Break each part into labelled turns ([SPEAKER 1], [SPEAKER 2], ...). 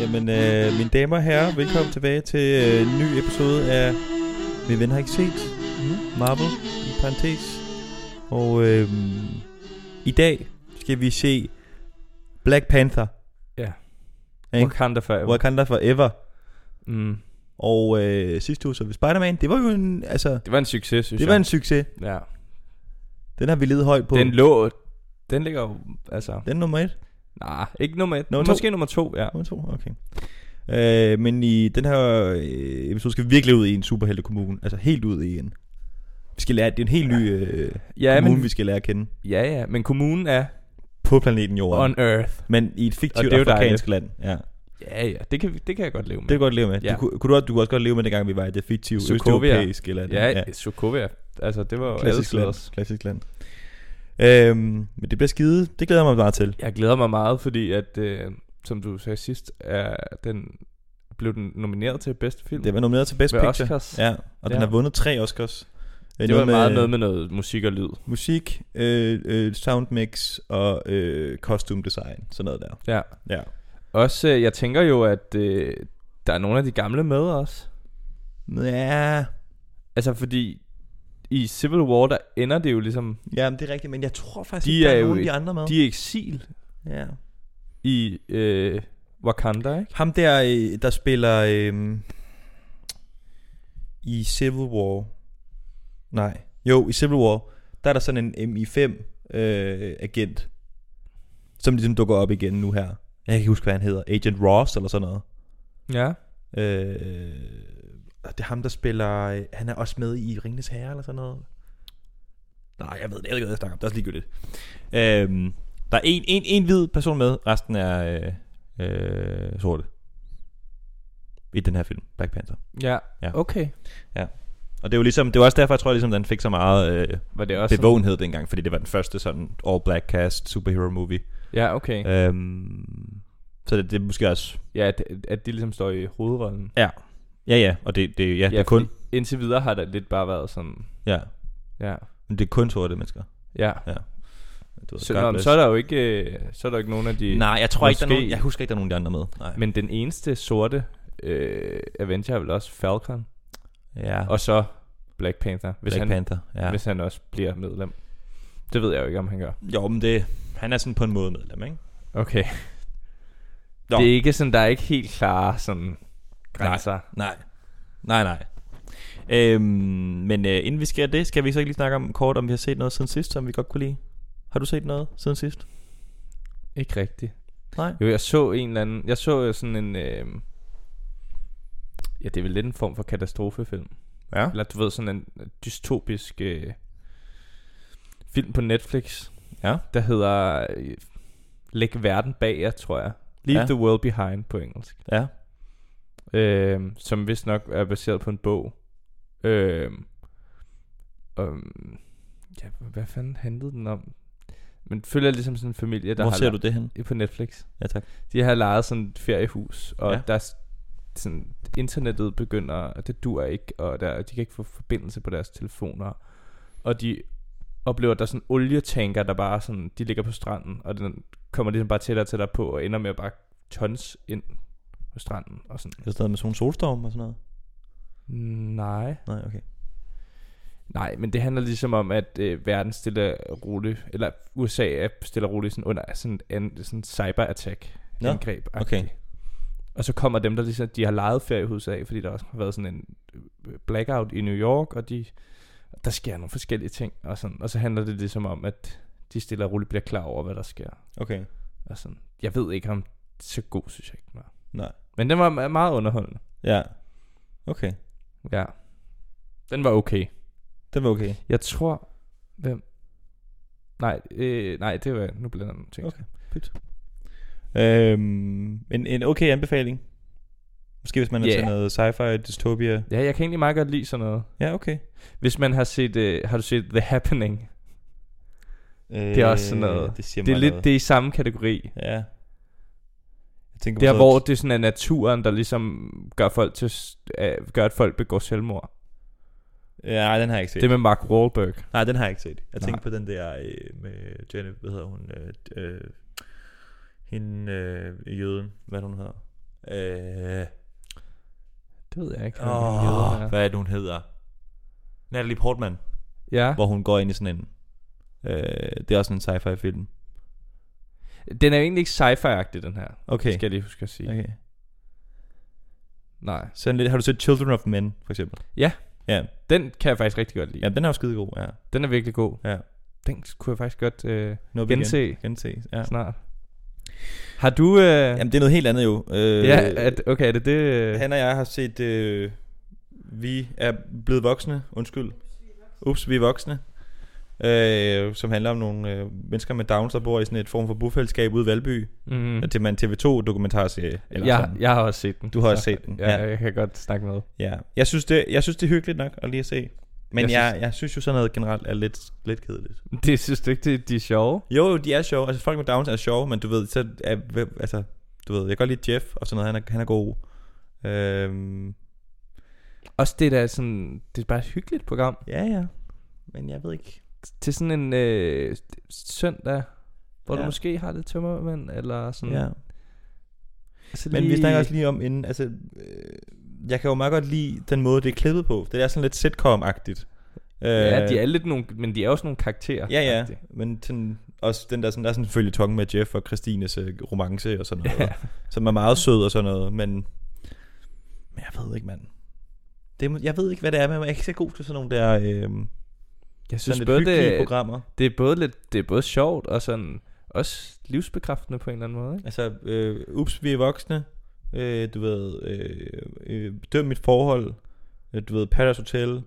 [SPEAKER 1] Jamen, øh, mine damer og herrer, velkommen tilbage til øh, en ny episode af Min ven har ikke set, Marvel i parentes. Og øh, i dag skal vi se Black Panther, Ikke?
[SPEAKER 2] Wakanda Forever.
[SPEAKER 1] Wakanda Forever.
[SPEAKER 2] Mm.
[SPEAKER 1] Og øh, sidste uge så vi Spider-Man. Det var jo en, altså,
[SPEAKER 2] Det var en succes, synes
[SPEAKER 1] det var
[SPEAKER 2] jeg.
[SPEAKER 1] en succes.
[SPEAKER 2] Ja.
[SPEAKER 1] Den har vi ledet højt på.
[SPEAKER 2] Den lå... Den ligger jo... Altså...
[SPEAKER 1] Den er nummer et.
[SPEAKER 2] Nej, ikke nummer et.
[SPEAKER 1] Nummer to.
[SPEAKER 2] Måske nummer to, ja.
[SPEAKER 1] Nummer to, okay. Øh, men i den her øh, episode skal vi virkelig ud i en superheltekommune. Altså helt ud i en. Vi skal lære, det er en helt ny øh, ja,
[SPEAKER 2] Ja,
[SPEAKER 1] kommune,
[SPEAKER 2] men,
[SPEAKER 1] men... vi skal lære at kende
[SPEAKER 2] ja, ja, men kommunen er
[SPEAKER 1] på planeten Jorden.
[SPEAKER 2] on earth.
[SPEAKER 1] Men i et
[SPEAKER 2] Og
[SPEAKER 1] fiktivt
[SPEAKER 2] det er jo
[SPEAKER 1] afrikansk land. Ja.
[SPEAKER 2] Ja, ja, det kan, vi- det kan jeg godt leve
[SPEAKER 1] Det
[SPEAKER 2] med.
[SPEAKER 1] kan du godt leve med. Ja.
[SPEAKER 2] Ja.
[SPEAKER 1] Du, kunne, kunne du, også, du kunne også godt leve med, dengang vi var i det fiktive
[SPEAKER 2] Sokovia.
[SPEAKER 1] østeuropæiske land.
[SPEAKER 2] ja, ja. Sokovia. Altså, det var jo
[SPEAKER 1] Klassisk
[SPEAKER 2] alle
[SPEAKER 1] land.
[SPEAKER 2] tiders.
[SPEAKER 1] Klassisk land. Øhm, men det bliver skide. Det glæder jeg mig meget til.
[SPEAKER 2] Jeg glæder mig meget, fordi at, øh, som du sagde sidst, er den blev den nomineret til bedste film.
[SPEAKER 1] Det var nomineret til Best
[SPEAKER 2] Ved
[SPEAKER 1] Picture.
[SPEAKER 2] Oscars.
[SPEAKER 1] Ja, og ja. den
[SPEAKER 2] Ja.
[SPEAKER 1] har vundet tre Oscars. Øh,
[SPEAKER 2] det var meget noget med noget musik og lyd.
[SPEAKER 1] musik, øh, øh, soundmix og øh, costume design. Sådan noget der.
[SPEAKER 2] Ja.
[SPEAKER 1] Ja.
[SPEAKER 2] Også, øh, jeg tænker jo, at øh, der er nogle af de gamle med også.
[SPEAKER 1] Ja,
[SPEAKER 2] Altså, fordi i Civil War, der ender det jo ligesom...
[SPEAKER 1] ja men det er rigtigt, men jeg tror faktisk,
[SPEAKER 2] De
[SPEAKER 1] de ikke, der
[SPEAKER 2] er
[SPEAKER 1] er,
[SPEAKER 2] jo
[SPEAKER 1] nogen af
[SPEAKER 2] et-
[SPEAKER 1] de andre med.
[SPEAKER 2] De er i eksil
[SPEAKER 1] Ja.
[SPEAKER 2] i øh, Wakanda, ikke?
[SPEAKER 1] Ham der, øh, der spiller øh, i Civil War. Nej. Jo, i Civil War, der er der sådan en MI5-agent, øh, som ligesom dukker op igen nu her. Jeg kan ikke huske, hvad han hedder. Agent Ross eller sådan noget.
[SPEAKER 2] Ja.
[SPEAKER 1] Øh, og det er ham, der spiller... øh, Han er også med i Ringenes Herre eller sådan noget. Nej, jeg ved det. Jeg ved ikke, hvad jeg snakker om. Det er også ligegyldigt. Øh, der er en, en, en hvid person med. Resten er øh, øh, sorte. I den her film, Black Panther.
[SPEAKER 2] Ja,
[SPEAKER 1] Ja.
[SPEAKER 2] okay.
[SPEAKER 1] Og det er jo ligesom, det var også derfor, jeg tror, ligesom, den fik så meget øh,
[SPEAKER 2] Var det også sådan-
[SPEAKER 1] bevågenhed dengang, fordi det var den første sådan all-black cast superhero movie.
[SPEAKER 2] Ja, okay.
[SPEAKER 1] Øhm, så det, det er måske også...
[SPEAKER 2] Ja, at, at de ligesom står i hovedrollen.
[SPEAKER 1] Ja, ja, og det, det, ja, ja, det er
[SPEAKER 2] fordi
[SPEAKER 1] kun...
[SPEAKER 2] Indtil videre har det lidt bare været sådan...
[SPEAKER 1] Ja,
[SPEAKER 2] Ja,
[SPEAKER 1] men det er kun sorte mennesker.
[SPEAKER 2] ja.
[SPEAKER 1] Du ved,
[SPEAKER 2] Så,
[SPEAKER 1] God
[SPEAKER 2] nå, men
[SPEAKER 1] bless.
[SPEAKER 2] så er der jo ikke, øh, så er der jo ikke nogen af de...
[SPEAKER 1] Nej, jeg tror ikke, der er
[SPEAKER 2] Måske-
[SPEAKER 1] nogen, jeg husker ikke, der er nogen af de andre med. Nej.
[SPEAKER 2] Men den eneste sorte øh, Avenger er vel også Falcon.
[SPEAKER 1] ja,
[SPEAKER 2] Og så Black Panther, hvis,
[SPEAKER 1] Black
[SPEAKER 2] han,
[SPEAKER 1] Panther. Ja.
[SPEAKER 2] hvis han også bliver medlem. Det ved jeg jo ikke, om han gør.
[SPEAKER 1] Jo, men det, han er sådan på en måde medlem, ikke?
[SPEAKER 2] Okay.
[SPEAKER 1] Nå.
[SPEAKER 2] Nå. Det er ikke sådan, der er ikke helt klare sådan grænser. Nej.
[SPEAKER 1] Nej. Nej, nej. Øhm, men øh, inden vi skal det, skal vi så ikke lige snakke om kort, om vi har set noget siden sidst, som vi godt kunne lide. Har du set noget siden sidst?
[SPEAKER 2] Ikke rigtigt.
[SPEAKER 1] Nej.
[SPEAKER 2] Jo, jeg så en eller anden... Jeg så jo sådan en... Øh, ja, det er vel lidt en form for katastrofefilm.
[SPEAKER 1] Ja.
[SPEAKER 2] Eller du ved, sådan en dystopisk øh, film på Netflix.
[SPEAKER 1] Ja.
[SPEAKER 2] Der hedder... Øh, Læg verden bag jer, tror jeg. Leave
[SPEAKER 1] Ja.
[SPEAKER 2] ja. the world behind på engelsk.
[SPEAKER 1] Ja.
[SPEAKER 2] øh, som vist nok er baseret på en bog. Øh, um, ja, hvad fanden handlede den om? Men følger ligesom sådan en familie, der
[SPEAKER 1] Hvor
[SPEAKER 2] har
[SPEAKER 1] ser du det hen?
[SPEAKER 2] det? på Netflix.
[SPEAKER 1] Ja, tak.
[SPEAKER 2] De har lejet sådan et feriehus, og
[SPEAKER 1] Ja.
[SPEAKER 2] ja. der er s- sådan, internettet begynder, og det dur ikke, og der, de kan ikke få forbindelse på deres telefoner. Og de oplever, at der er sådan olietanker, der bare sådan, de ligger på stranden, og den kommer ligesom bare tættere og tættere på, og ender med at bare tons ind på stranden. Og sådan.
[SPEAKER 1] Det er sådan noget med sådan en solstorm og sådan noget.
[SPEAKER 2] Nej.
[SPEAKER 1] Nej, okay.
[SPEAKER 2] Nej, men det handler ligesom om, at øh, verden stille og roligt, eller USA er stille og roligt sådan under sådan en sådan cyberattack
[SPEAKER 1] Nå,
[SPEAKER 2] angreb.
[SPEAKER 1] okay.
[SPEAKER 2] Og så kommer dem, der ligesom, de har lejet feriehus af, fordi der også har været sådan en øh, blackout i New York, og de, der sker nogle forskellige ting, og, sådan, og så handler det ligesom om, at de stille og roligt bliver klar over, hvad der sker.
[SPEAKER 1] Okay.
[SPEAKER 2] Og sådan. Jeg ved ikke, om så god synes jeg ikke den var.
[SPEAKER 1] Nej.
[SPEAKER 2] Men den var me- meget underholdende.
[SPEAKER 1] Ja. Okay.
[SPEAKER 2] Ja. Den var okay.
[SPEAKER 1] Det var okay.
[SPEAKER 2] Jeg tror... Hvem? Nej, øh, nej, det var... Nu blander jeg nogle ting.
[SPEAKER 1] Okay. Øhm, en, en okay anbefaling. Måske hvis man er
[SPEAKER 2] Ja.
[SPEAKER 1] til noget sci-fi, dystopia.
[SPEAKER 2] Ja, jeg kan egentlig meget godt lide sådan noget.
[SPEAKER 1] Ja, okay.
[SPEAKER 2] Hvis man har set... Øh, har du set The Happening? Det er også sådan noget-
[SPEAKER 1] Øh, Det, siger
[SPEAKER 2] Det er
[SPEAKER 1] mig
[SPEAKER 2] lidt
[SPEAKER 1] noget.
[SPEAKER 2] det er i samme kategori.
[SPEAKER 1] Ja. Jeg tænker på
[SPEAKER 2] Der
[SPEAKER 1] sådan
[SPEAKER 2] hvor
[SPEAKER 1] noget-
[SPEAKER 2] det sådan er naturen, der ligesom gør, folk til, s- øh, gør at folk begår selvmord.
[SPEAKER 1] Ja, nej, den har jeg ikke set.
[SPEAKER 2] Det er med Mark Wahlberg.
[SPEAKER 1] Nej, den har jeg ikke set. Jeg
[SPEAKER 2] Nej.
[SPEAKER 1] tænker på den der øh, med Jenny, hvad hedder hun? Øh, øh, hende øh, jøden, hvad er det, hun hedder. Øh,
[SPEAKER 2] Det ved jeg ikke. hvad den hedder,
[SPEAKER 1] åh,
[SPEAKER 2] ja.
[SPEAKER 1] hvad er det, hun hedder? Natalie Portman,
[SPEAKER 2] Ja.
[SPEAKER 1] hvor hun går ind i sådan en... Øh, det er også en sci-fi film.
[SPEAKER 2] Den er jo egentlig ikke sci-fi-agtig, den her.
[SPEAKER 1] Okay.
[SPEAKER 2] Skal jeg lige huske at sige.
[SPEAKER 1] okay.
[SPEAKER 2] Nej.
[SPEAKER 1] Sådan lidt, har du set Children of Men, for eksempel?
[SPEAKER 2] Ja.
[SPEAKER 1] Ja,
[SPEAKER 2] Den kan jeg faktisk rigtig godt lide.
[SPEAKER 1] ja den er jo skidegod, ja.
[SPEAKER 2] Den er virkelig god.
[SPEAKER 1] Ja.
[SPEAKER 2] Den kunne jeg faktisk godt øh,
[SPEAKER 1] Nu er vi igen.
[SPEAKER 2] gense
[SPEAKER 1] Gense, ja.
[SPEAKER 2] ja. snart. Har du... Øh,
[SPEAKER 1] Jamen, det er noget helt andet jo. Øh,
[SPEAKER 2] ja, at, okay, er det det... Øh,
[SPEAKER 1] Han og jeg har set... Øh, vi er blevet voksne. Undskyld. Ups, vi er voksne. Øh, som handler om nogle øh, mennesker med Downs, der bor i sådan et form for bofællesskab ude i Valby.
[SPEAKER 2] mm,
[SPEAKER 1] Mm. Til man TV2-dokumentarserie. Eller
[SPEAKER 2] jeg,
[SPEAKER 1] sådan.
[SPEAKER 2] jeg har også set den.
[SPEAKER 1] Du har også
[SPEAKER 2] så
[SPEAKER 1] set den,
[SPEAKER 2] Ja,
[SPEAKER 1] ja.
[SPEAKER 2] jeg kan godt snakke med.
[SPEAKER 1] Ja. Jeg, synes det, jeg synes, det er hyggeligt nok at lige at se. Men
[SPEAKER 2] Jeg
[SPEAKER 1] jeg, jeg, jeg synes jo sådan noget generelt er lidt, lidt kedeligt.
[SPEAKER 2] Det synes du ikke, det, de er sjove?
[SPEAKER 1] Jo, jo, de er sjove. Altså, folk med Downs er sjove, men du ved, så er, hvem- altså, du ved, jeg kan godt lide Jeff og sådan noget. Han er, han er god. Øhm,
[SPEAKER 2] Også det der sådan... Det er bare et hyggeligt program.
[SPEAKER 1] ja, ja. Men jeg ved ikke.
[SPEAKER 2] Til sådan en øh, søndag, hvor ja. du
[SPEAKER 1] Ja.
[SPEAKER 2] måske har lidt tømmermænd, eller sådan...
[SPEAKER 1] Ja.
[SPEAKER 2] Altså
[SPEAKER 1] Men vi snakker også lige om inden, altså, øh, jeg kan jo meget godt lide den måde, det er klippet på. Det er sådan lidt sitcom-agtigt. Øh,
[SPEAKER 2] Ja, de er lidt nogle... Men de er også nogle karakterer.
[SPEAKER 1] Ja, ja,
[SPEAKER 2] faktisk.
[SPEAKER 1] men sådan, også den der, sådan, der er sådan en følgetong med Jeff og Christines øh, romance og sådan noget,
[SPEAKER 2] Ja.
[SPEAKER 1] ja. som er meget sød og sådan noget, men, men jeg ved ikke, mand. Det, er må- jeg ved ikke, hvad det er, men jeg er ikke så god til sådan nogle der øh,
[SPEAKER 2] Jeg synes,
[SPEAKER 1] sådan lidt
[SPEAKER 2] både
[SPEAKER 1] hyggelige
[SPEAKER 2] det,
[SPEAKER 1] programmer.
[SPEAKER 2] det er både lidt, det er både sjovt og sådan også livsbekræftende på en eller anden måde, ikke?
[SPEAKER 1] Altså, øh, ups, vi er voksne, øh, du ved, øh, øh, døm mit forhold, øh, du ved, Paradise Hotel,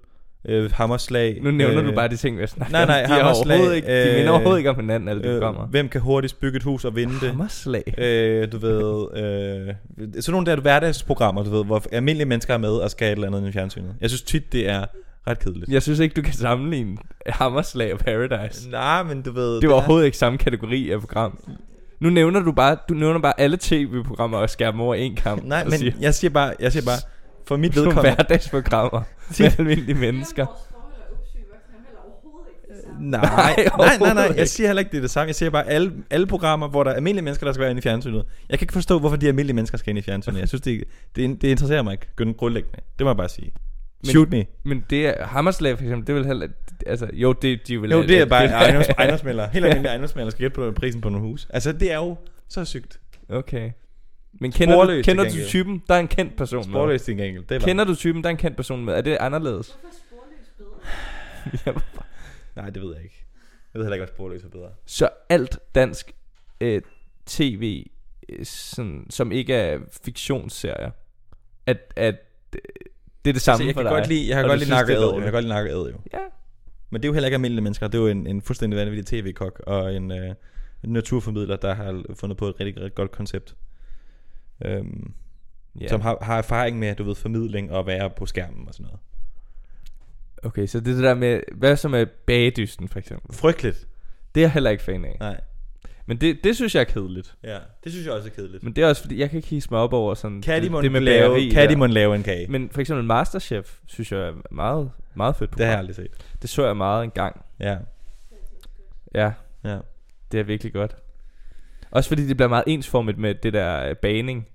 [SPEAKER 1] øh, Hammerslag.
[SPEAKER 2] Nu nævner
[SPEAKER 1] øh,
[SPEAKER 2] øh, du bare de ting, vi har snakket
[SPEAKER 1] nej, nej,
[SPEAKER 2] om. De, er
[SPEAKER 1] Hammerslag,
[SPEAKER 2] overhovedet ikke, de
[SPEAKER 1] øh,
[SPEAKER 2] minder overhovedet ikke om hinanden, alle de øh,
[SPEAKER 1] øh,
[SPEAKER 2] programmer.
[SPEAKER 1] Hvem kan hurtigst bygge et hus og vinde det?
[SPEAKER 2] Hammerslag.
[SPEAKER 1] Øh, du ved, øh, sådan nogle der hverdagsprogrammer, du ved, hvor almindelige mennesker er med og skal et eller andet i fjernsynet. Jeg synes tit, det er ret kedeligt.
[SPEAKER 2] Jeg synes ikke, du kan sammenligne Hammerslag og Paradise.
[SPEAKER 1] Nej, men du ved...
[SPEAKER 2] Det var
[SPEAKER 1] der-
[SPEAKER 2] overhovedet ikke samme kategori af program. Nu nævner du bare, du nævner bare alle tv-programmer og skærmer over en kamp.
[SPEAKER 1] Nej,
[SPEAKER 2] og
[SPEAKER 1] men
[SPEAKER 2] siger,
[SPEAKER 1] jeg siger bare, jeg siger bare for mit
[SPEAKER 2] nogle
[SPEAKER 1] vedkommende...
[SPEAKER 2] hverdagsprogrammer med almindelige mennesker.
[SPEAKER 3] Vores forhold er upsyge voksne er heller overhovedet ikke det samme.
[SPEAKER 1] Nej, nej,
[SPEAKER 2] Nej,
[SPEAKER 1] nej, nej, nej,
[SPEAKER 2] overhovedet ikke.
[SPEAKER 1] jeg siger heller ikke, det er det samme. Jeg siger bare, alle, alle programmer, hvor der er almindelige mennesker, der skal være inde i fjernsynet. Jeg kan ikke forstå, hvorfor de almindelige mennesker skal ind i fjernsynet. Jeg synes, det, det, det interesserer mig ikke grund- grundlæggende. Det må jeg bare sige.
[SPEAKER 2] Men-
[SPEAKER 1] Shoot me.
[SPEAKER 2] Men det er Hammerslag for eksempel, det vil heller... Altså, jo, det, de vil
[SPEAKER 1] Jo,
[SPEAKER 2] heller-
[SPEAKER 1] det er bare
[SPEAKER 2] vil-
[SPEAKER 1] ejendoms- ejendomsmælder. Helt almindelige ejendomsmælder der skal gætte på prisen på nogle hus. Altså, det er jo så sygt.
[SPEAKER 2] Okay. Men kender, du,
[SPEAKER 1] Sporløst til
[SPEAKER 2] kender du
[SPEAKER 1] gengæld.
[SPEAKER 2] typen? Der er en kendt person med.
[SPEAKER 1] Sporløst til gengæld. Det er
[SPEAKER 2] Kender du typen? Der er en kendt person med. Er det anderledes?
[SPEAKER 3] Hvorfor er sporløs bedre?
[SPEAKER 2] Ja.
[SPEAKER 1] Nej, det ved jeg ikke. Jeg ved heller ikke, hvad sporløst er bedre.
[SPEAKER 2] Så alt dansk øh, tv, øh, sådan, som ikke er fiktionsserier, at, at øh, det er det samme
[SPEAKER 1] Altså, jeg
[SPEAKER 2] for
[SPEAKER 1] kan
[SPEAKER 2] dig.
[SPEAKER 1] godt lide, jeg kan
[SPEAKER 2] og
[SPEAKER 1] godt
[SPEAKER 2] du
[SPEAKER 1] lide
[SPEAKER 2] synes,
[SPEAKER 1] nakke
[SPEAKER 2] det er
[SPEAKER 1] ad, jeg
[SPEAKER 2] dårligt.
[SPEAKER 1] kan godt lide nakke ad jo.
[SPEAKER 2] Ja.
[SPEAKER 1] Men det er jo heller ikke almindelige mennesker. Det er jo en, en fuldstændig vanvittig tv-kok og en, øh, en naturformidler, der har fundet på et rigtig, rigtig godt koncept. Øhm,
[SPEAKER 2] Ja.
[SPEAKER 1] yeah. Som har, har erfaring med, du ved, formidling og være på skærmen og sådan noget.
[SPEAKER 2] Okay, så det er det der med, hvad så med bagedysten for eksempel?
[SPEAKER 1] Frygteligt.
[SPEAKER 2] Det er jeg heller ikke fan af.
[SPEAKER 1] Nej.
[SPEAKER 2] Men det, det synes jeg er kedeligt.
[SPEAKER 1] Ja, det synes jeg også er kedeligt.
[SPEAKER 2] Men det er også fordi, jeg kan ikke hisse mig op over sådan
[SPEAKER 1] Kan de
[SPEAKER 2] det,
[SPEAKER 1] mon
[SPEAKER 2] det med bageri
[SPEAKER 1] lave, kan de
[SPEAKER 2] der.
[SPEAKER 1] mon lave en kage?
[SPEAKER 2] Men for eksempel Masterchef, synes jeg er meget, meget fedt
[SPEAKER 1] Det har
[SPEAKER 2] program.
[SPEAKER 1] jeg
[SPEAKER 2] Det,
[SPEAKER 1] aldrig set.
[SPEAKER 2] det så jeg meget engang.
[SPEAKER 1] Ja,
[SPEAKER 2] Ja,
[SPEAKER 1] ja.
[SPEAKER 2] det er virkelig godt. Også fordi det bliver meget ensformigt med det der øh, baning.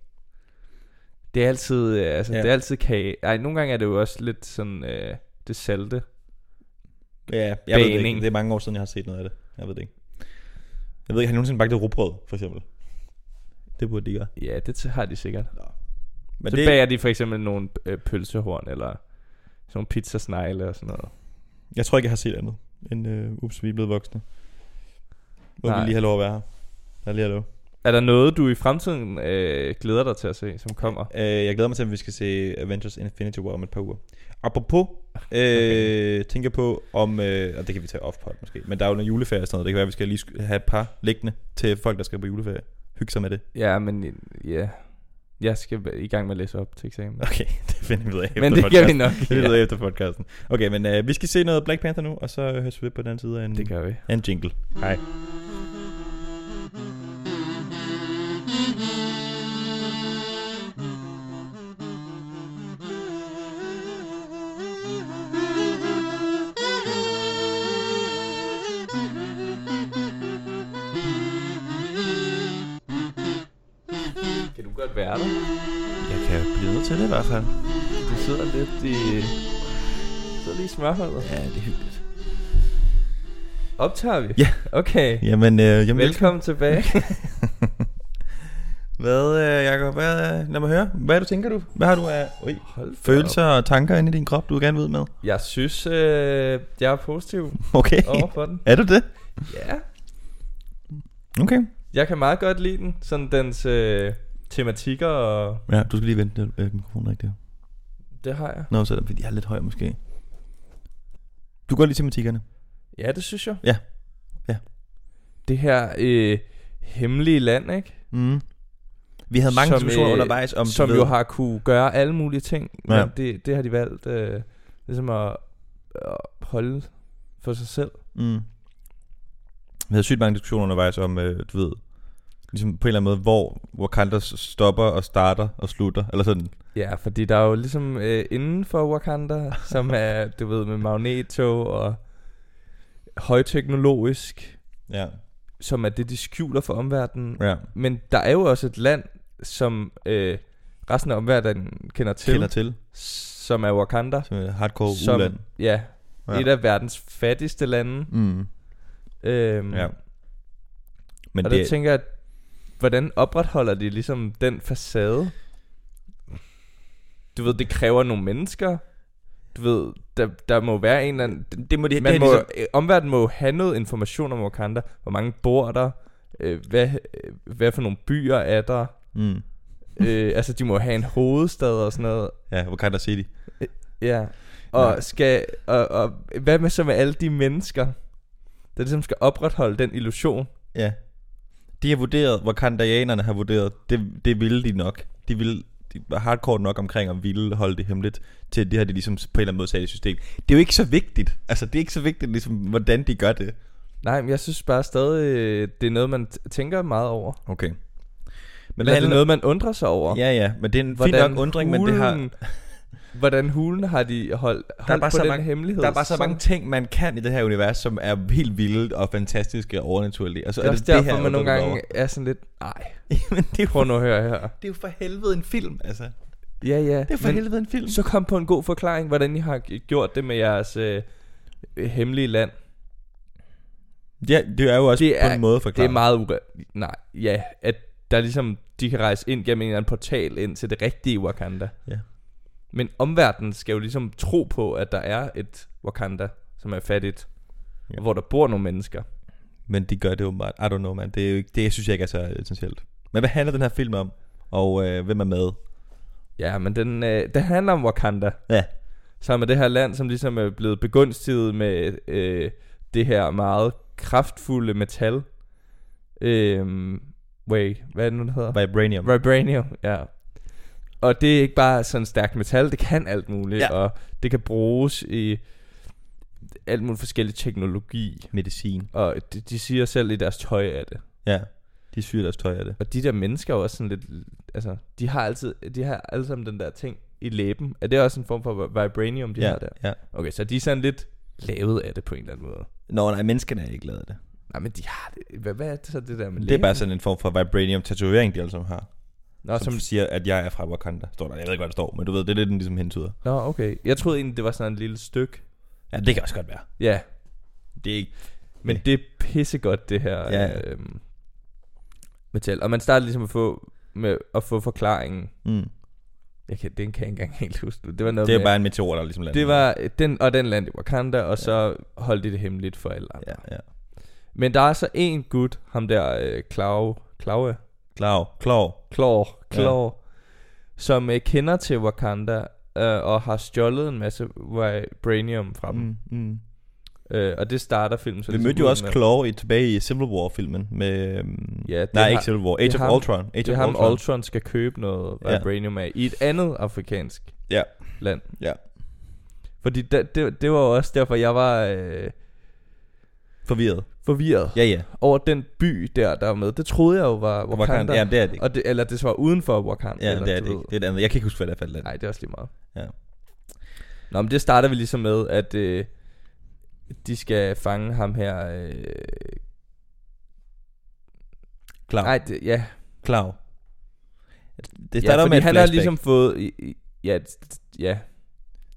[SPEAKER 2] Det er altid, øh, altså,
[SPEAKER 1] Ja.
[SPEAKER 2] ja. det er altid kage. Ej, nogle gange er det jo også lidt sådan, øh, det salte.
[SPEAKER 1] Ja, jeg ved det
[SPEAKER 2] Bagning.
[SPEAKER 1] ikke. Det er mange år siden, jeg har set noget af det. Jeg ved det ikke. Jeg ved ikke, har de nogensinde bagt et rugbrød, for eksempel? Det burde de gøre.
[SPEAKER 2] Ja, det t- har de sikkert.
[SPEAKER 1] Men
[SPEAKER 2] så
[SPEAKER 1] det,
[SPEAKER 2] det... bager de for eksempel nogle øh, pølsehorn, eller sådan nogle pizzasnegle og sådan noget.
[SPEAKER 1] jeg tror ikke, jeg har set andet end, øh, ups, vi er blevet voksne. Hvor
[SPEAKER 2] Nej.
[SPEAKER 1] vi lige har lov at være her. Jeg lige har lov.
[SPEAKER 2] Er der noget, du i fremtiden øh, glæder dig til at se, som kommer?
[SPEAKER 1] Øh, jeg glæder mig til, at vi skal se Avengers Infinity War om et par uger. Apropos, øh, tænker jeg på om, øh, og det kan vi tage off pod måske, men der er jo noget juleferie og sådan noget. Det kan være, at vi skal lige sk- have et par liggende til folk, der skal på juleferie. Hygge sig med det.
[SPEAKER 2] Ja, men øh, ja. Jeg skal være i gang med at læse op til eksamen.
[SPEAKER 1] Okay, det finder vi ud af efter
[SPEAKER 2] men det
[SPEAKER 1] podcasten.
[SPEAKER 2] gør vi nok.
[SPEAKER 1] Det lyder
[SPEAKER 2] ja.
[SPEAKER 1] ja. efter podcasten. Okay, men øh, vi skal se noget Black Panther nu, og så høres vi ved på den anden side af en,
[SPEAKER 2] Det gør vi.
[SPEAKER 1] af en jingle.
[SPEAKER 2] Hej. Kan du godt være der?
[SPEAKER 1] Jeg kan blive nødt til det i hvert fald.
[SPEAKER 2] Du sidder lidt i... sidder lige i smørholdet.
[SPEAKER 1] Ja, det er hyggeligt.
[SPEAKER 2] Optager vi?
[SPEAKER 1] Ja.
[SPEAKER 2] Okay.
[SPEAKER 1] Jamen, øh, jamen velkommen.
[SPEAKER 2] Velkommen tilbage.
[SPEAKER 1] Hvad, øh, Jacob, hvad, lad mig høre. Hvad du tænker du? Hvad har du af øh,
[SPEAKER 2] Hold da
[SPEAKER 1] følelser og tanker inde i din krop, du gerne vil ud med?
[SPEAKER 2] op. Jeg synes, øh, jeg er positiv
[SPEAKER 1] Okay.
[SPEAKER 2] over for den.
[SPEAKER 1] Er du det?
[SPEAKER 2] Ja.
[SPEAKER 1] Okay.
[SPEAKER 2] Jeg kan meget godt lide den. Sådan dens øh, tematikker og...
[SPEAKER 1] Ja, du skal lige vente, det øh, mikrofonen er ikke der.
[SPEAKER 2] Det har jeg.
[SPEAKER 1] Nå, så er det, fordi jeg er lidt høj måske. Du går lige til tematikkerne.
[SPEAKER 2] Ja, det synes jeg.
[SPEAKER 1] Ja. Ja.
[SPEAKER 2] Det her øh, hemmelige land, ikke?
[SPEAKER 1] Mm. Vi havde mange
[SPEAKER 2] Som,
[SPEAKER 1] diskussioner
[SPEAKER 2] øh,
[SPEAKER 1] undervejs om...
[SPEAKER 2] Om
[SPEAKER 1] du
[SPEAKER 2] som
[SPEAKER 1] ved-
[SPEAKER 2] jo har kunne gøre alle mulige ting, ja.
[SPEAKER 1] Ja.
[SPEAKER 2] men det, det har de valgt øh, ligesom at, at holde for sig selv.
[SPEAKER 1] Mm. Vi havde sygt mange diskussioner undervejs om, øh, du ved, ligesom på en eller anden måde, hvor Wakanda s- stopper og starter og slutter, eller sådan.
[SPEAKER 2] Ja, fordi der er jo ligesom øh, inden for Wakanda, som er, du ved, med magnettog og højteknologisk,
[SPEAKER 1] Ja,
[SPEAKER 2] som er det, de skjuler for omverdenen. Ja.
[SPEAKER 1] ja.
[SPEAKER 2] Men der er jo også et land, som øh, resten af omverdenen kender til,
[SPEAKER 1] Kender
[SPEAKER 2] kender.
[SPEAKER 1] til,
[SPEAKER 2] som er Wakanda.
[SPEAKER 1] som er hardcore
[SPEAKER 2] Som-
[SPEAKER 1] uland.
[SPEAKER 2] Ja,
[SPEAKER 1] Ja.
[SPEAKER 2] ja, et af verdens fattigste lande.
[SPEAKER 1] Mm.
[SPEAKER 2] Øhm,
[SPEAKER 1] Ja. Men
[SPEAKER 2] Men og
[SPEAKER 1] det,
[SPEAKER 2] det... der tænker jeg, at hvordan opretholder de ligesom den facade? Du ved, det kræver nogle mennesker. Du ved, der, der må være en eller anden...
[SPEAKER 1] det, det må de,
[SPEAKER 2] Man
[SPEAKER 1] det
[SPEAKER 2] må,
[SPEAKER 1] må, ligesom,
[SPEAKER 2] øh, Omverdenen må jo have noget information om Wakanda. Hvor mange bor der? Øh, hvad, øh, hvad for nogle byer er der?
[SPEAKER 1] mm.
[SPEAKER 2] øh, altså, de må have en hovedstad og sådan noget.
[SPEAKER 1] Ja, Wakanda City.
[SPEAKER 2] Ja. Og,
[SPEAKER 1] Nej.
[SPEAKER 2] skal, og, og hvad med så med alle de mennesker, der ligesom skal opretholde den illusion?
[SPEAKER 1] Ja. De har vurderet, Wakandianerne har vurderet, det, det ville de nok. De ville de var hardcore nok omkring at ville holde det hemmeligt, til det har de ligesom på en eller anden måde sat i system. Det er jo ikke så vigtigt. Altså, det er ikke så vigtigt, ligesom, hvordan de gør det.
[SPEAKER 2] Nej, men jeg synes bare stadig, øh, det er noget, man t- tænker meget over.
[SPEAKER 1] Okay. Men
[SPEAKER 2] Men er det noget, man undrer sig over?
[SPEAKER 1] Ja, ja, men det er en fin nok undring, men det har,
[SPEAKER 2] hulen- hvordan hulen har de holdt, holdt
[SPEAKER 1] bare
[SPEAKER 2] på
[SPEAKER 1] så
[SPEAKER 2] den
[SPEAKER 1] mange-
[SPEAKER 2] hemmelighed?
[SPEAKER 1] der er bare så
[SPEAKER 2] Sådan-
[SPEAKER 1] mange ting, man kan i det her univers, som er helt vilde og fantastiske og overnaturlige. Og så
[SPEAKER 2] Det
[SPEAKER 1] er
[SPEAKER 2] er
[SPEAKER 1] det
[SPEAKER 2] også
[SPEAKER 1] det
[SPEAKER 2] derfor,
[SPEAKER 1] her,
[SPEAKER 2] man nogle
[SPEAKER 1] jeg undrer mig
[SPEAKER 2] gange
[SPEAKER 1] over.
[SPEAKER 2] er sådan lidt, nej,
[SPEAKER 1] Jamen, det er, jo,
[SPEAKER 2] prøv nu at høre her.
[SPEAKER 1] det er jo for helvede en film, altså. Det
[SPEAKER 2] Ja, ja.
[SPEAKER 1] er for
[SPEAKER 2] men
[SPEAKER 1] helvede en film.
[SPEAKER 2] Så kom på en god forklaring, hvordan I har g- gjort det med jeres øh, hemmelige land.
[SPEAKER 1] Ja, det er jo også
[SPEAKER 2] Det
[SPEAKER 1] på
[SPEAKER 2] er-
[SPEAKER 1] en måde
[SPEAKER 2] Det
[SPEAKER 1] forklaret.
[SPEAKER 2] er meget ure... Nej, ja, at der ligesom, de kan rejse ind gennem en eller anden portal ind til det rigtige Wakanda.
[SPEAKER 1] Ja.
[SPEAKER 2] Men omverdenen skal jo ligesom tro på, at der er et Wakanda, som er fattigt,
[SPEAKER 1] Ja.
[SPEAKER 2] ja. hvor der bor nogle mennesker.
[SPEAKER 1] Men de gør det åbenbart. I don't know, man. Det, er jo ikke, det synes jeg ikke er så essentielt. Men hvad handler den her film om? Og øh, hvem er med?
[SPEAKER 2] Ja, men den, øh, den handler om Wakanda,
[SPEAKER 1] Ja.
[SPEAKER 2] som er det her land, som ligesom er blevet begunstiget med øh, det her meget kraftfulde metal. Øh, wait, hvad er det nu, det hedder?
[SPEAKER 1] Vibranium.
[SPEAKER 2] Vibranium, ja. Og det er ikke bare sådan stærkt metal, det kan alt muligt,
[SPEAKER 1] Ja.
[SPEAKER 2] ja. og det kan bruges i alt muligt forskellig teknologi,
[SPEAKER 1] Medicin.
[SPEAKER 2] og de, de siger selv i deres tøj af det.
[SPEAKER 1] Ja. De syrer deres tøj af det.
[SPEAKER 2] Og de der mennesker er jo også sådan lidt, altså, de har altid, de har alle sammen den der ting i læben. Er det også en form for vi- vibranium, de
[SPEAKER 1] ja,
[SPEAKER 2] har der?
[SPEAKER 1] ja.
[SPEAKER 2] Okay, så de er sådan lidt lavet af det på en eller anden måde.
[SPEAKER 1] Nå, nej, menneskerne er ikke glade af det.
[SPEAKER 2] Nej, men de har det. Hvad, hvad er det så det der med
[SPEAKER 1] Det er bare sådan en form for vibranium-tatovering, de alle sammen har.
[SPEAKER 2] Nå,
[SPEAKER 1] som,
[SPEAKER 2] som,
[SPEAKER 1] som siger, at jeg er fra Wakanda. Står der, jeg ved ikke, hvad der står, men du ved, det er det, den ligesom hentyder.
[SPEAKER 2] nå, okay. Jeg troede egentlig, det var sådan et lille stykke.
[SPEAKER 1] Ja, det kan også godt være.
[SPEAKER 2] Ja,
[SPEAKER 1] Det er ikke...
[SPEAKER 2] Men
[SPEAKER 1] Okay.
[SPEAKER 2] det er pissegodt det her
[SPEAKER 1] Ja.
[SPEAKER 2] ja. øhm, metal. Og man starter ligesom at få, med at få forklaringen.
[SPEAKER 1] Mm.
[SPEAKER 2] Jeg kan, den kan jeg ikke engang helt huske. nu. Det var noget
[SPEAKER 1] Det er
[SPEAKER 2] med,
[SPEAKER 1] bare en meteor, der ligesom lander.
[SPEAKER 2] det var øh, den, og den land i Wakanda, og så holdt de det hemmeligt for alle andre.
[SPEAKER 1] Ja, ja.
[SPEAKER 2] Men der er så en gut, ham der øh, Klau, Klaue,
[SPEAKER 1] Klav, Klav.
[SPEAKER 2] Klor,
[SPEAKER 1] Ja.
[SPEAKER 2] Klor, som øh, kender til Wakanda, øh, og har stjålet en masse vibranium fra dem. Mm.
[SPEAKER 1] mm.
[SPEAKER 2] Øh, og det starter filmen så
[SPEAKER 1] Vi
[SPEAKER 2] ligesom
[SPEAKER 1] mødte jo
[SPEAKER 2] ud
[SPEAKER 1] også
[SPEAKER 2] med.
[SPEAKER 1] Klav i, tilbage i Civil War-filmen med... øhm,
[SPEAKER 2] Ja, det
[SPEAKER 1] nej,
[SPEAKER 2] har-
[SPEAKER 1] ikke Civil War. Age
[SPEAKER 2] det
[SPEAKER 1] of
[SPEAKER 2] har-
[SPEAKER 1] Ultron. Age
[SPEAKER 2] Det er
[SPEAKER 1] of
[SPEAKER 2] ham,
[SPEAKER 1] Ultron.
[SPEAKER 2] Ultron. Ultron skal købe noget
[SPEAKER 1] Ja.
[SPEAKER 2] vibranium af i et andet afrikansk
[SPEAKER 1] Ja.
[SPEAKER 2] land.
[SPEAKER 1] Ja.
[SPEAKER 2] Fordi da, det, det var jo også derfor, jeg var øh,
[SPEAKER 1] Forvirret.
[SPEAKER 2] forvirret ja.
[SPEAKER 1] Ja, ja.
[SPEAKER 2] over den by der, der var med. Det troede jeg jo var Wakanda. Wakanda
[SPEAKER 1] Ja, det er det ikke.
[SPEAKER 2] Og det, eller det var uden for Wakanda.
[SPEAKER 1] Ja,
[SPEAKER 2] eller,
[SPEAKER 1] det er det
[SPEAKER 2] du
[SPEAKER 1] ikke. Det er det andet. Jeg kan ikke huske, hvad det er for et land.
[SPEAKER 2] Nej, det er også lige meget.
[SPEAKER 1] Ja.
[SPEAKER 2] Nå, men det starter vi ligesom med, at øh, de skal fange ham her. Øh,
[SPEAKER 1] Klav.
[SPEAKER 2] nej, det, ja.
[SPEAKER 1] Klav. Det starter
[SPEAKER 2] ja,
[SPEAKER 1] ja, med
[SPEAKER 2] fordi
[SPEAKER 1] et
[SPEAKER 2] han
[SPEAKER 1] flashback.
[SPEAKER 2] har ligesom fået... i- i- Ja, ja,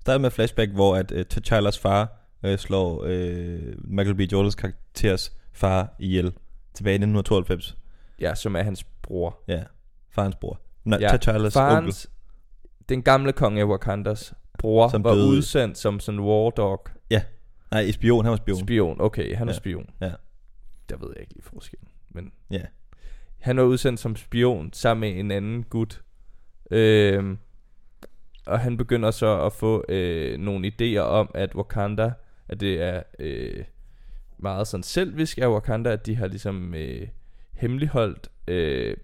[SPEAKER 1] starter med et flashback, hvor at uh, T'Challas far uh, slår uh, Michael B. Jordans karakteres far ihjel tilbage i 1992.
[SPEAKER 2] ja, som er hans bror.
[SPEAKER 1] Ja, farens bror. Nej,
[SPEAKER 2] Ja,
[SPEAKER 1] ja, T'Challas onkel.
[SPEAKER 2] Farens, den gamle konge af Wakandas bror, som
[SPEAKER 1] Som
[SPEAKER 2] var
[SPEAKER 1] døde.
[SPEAKER 2] udsendt som sådan war dog.
[SPEAKER 1] Nej, spion, han var spion.
[SPEAKER 2] Spion, okay, han er
[SPEAKER 1] Ja,
[SPEAKER 2] spion.
[SPEAKER 1] ja.
[SPEAKER 2] Der ved jeg ikke lige forskellen, men...
[SPEAKER 1] Ja.
[SPEAKER 2] Han var udsendt som spion sammen med en anden gut. Øhm, og han begynder så at få øh, nogle idéer om, at Wakanda, at det er øh, meget sådan selvisk af Wakanda, at de har ligesom øh, hemmeligholdt øh,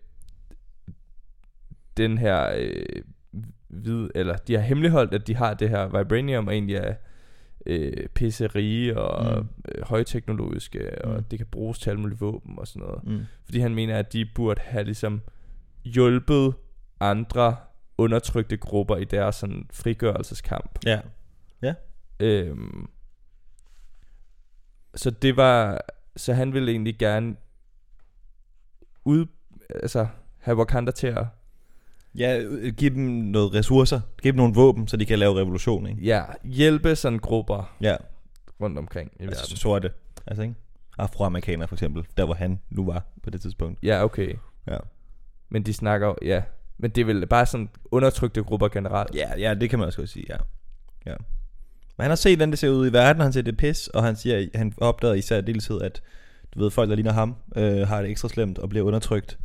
[SPEAKER 2] den her øh, vid, eller de har hemmeligholdt, at de har det her vibranium, og egentlig er øh, pisserige og
[SPEAKER 1] Mm.
[SPEAKER 2] øh, højteknologiske, og
[SPEAKER 1] Mm.
[SPEAKER 2] det kan bruges til alle mulige våben og sådan noget.
[SPEAKER 1] Mm.
[SPEAKER 2] Fordi han mener, at de burde have ligesom hjulpet andre undertrykte grupper i deres sådan frigørelseskamp.
[SPEAKER 1] Ja.
[SPEAKER 2] Øhm, så det var, så han ville egentlig gerne ud, altså have Wakanda til at,
[SPEAKER 1] Ja, øh, giv dem noget ressourcer. Giv dem nogle våben, så de kan lave revolution, ikke?
[SPEAKER 2] ja, hjælpe sådan grupper
[SPEAKER 1] Ja,
[SPEAKER 2] rundt omkring i
[SPEAKER 1] altså
[SPEAKER 2] verden.
[SPEAKER 1] sorte. Altså, ikke? Afroamerikanere for eksempel, der hvor han nu var på det tidspunkt.
[SPEAKER 2] Ja, okay.
[SPEAKER 1] Ja.
[SPEAKER 2] Men de snakker, jo- ja. Men det er vel bare sådan undertrykte grupper generelt.
[SPEAKER 1] Ja, ja, det kan man også godt sige, ja. ja. Men han har set, hvordan det ser ud i verden, og han ser det er pis, og han siger, han opdagede især i deltid, at du ved, folk, der ligner ham, øh, har det ekstra slemt og bliver undertrykt,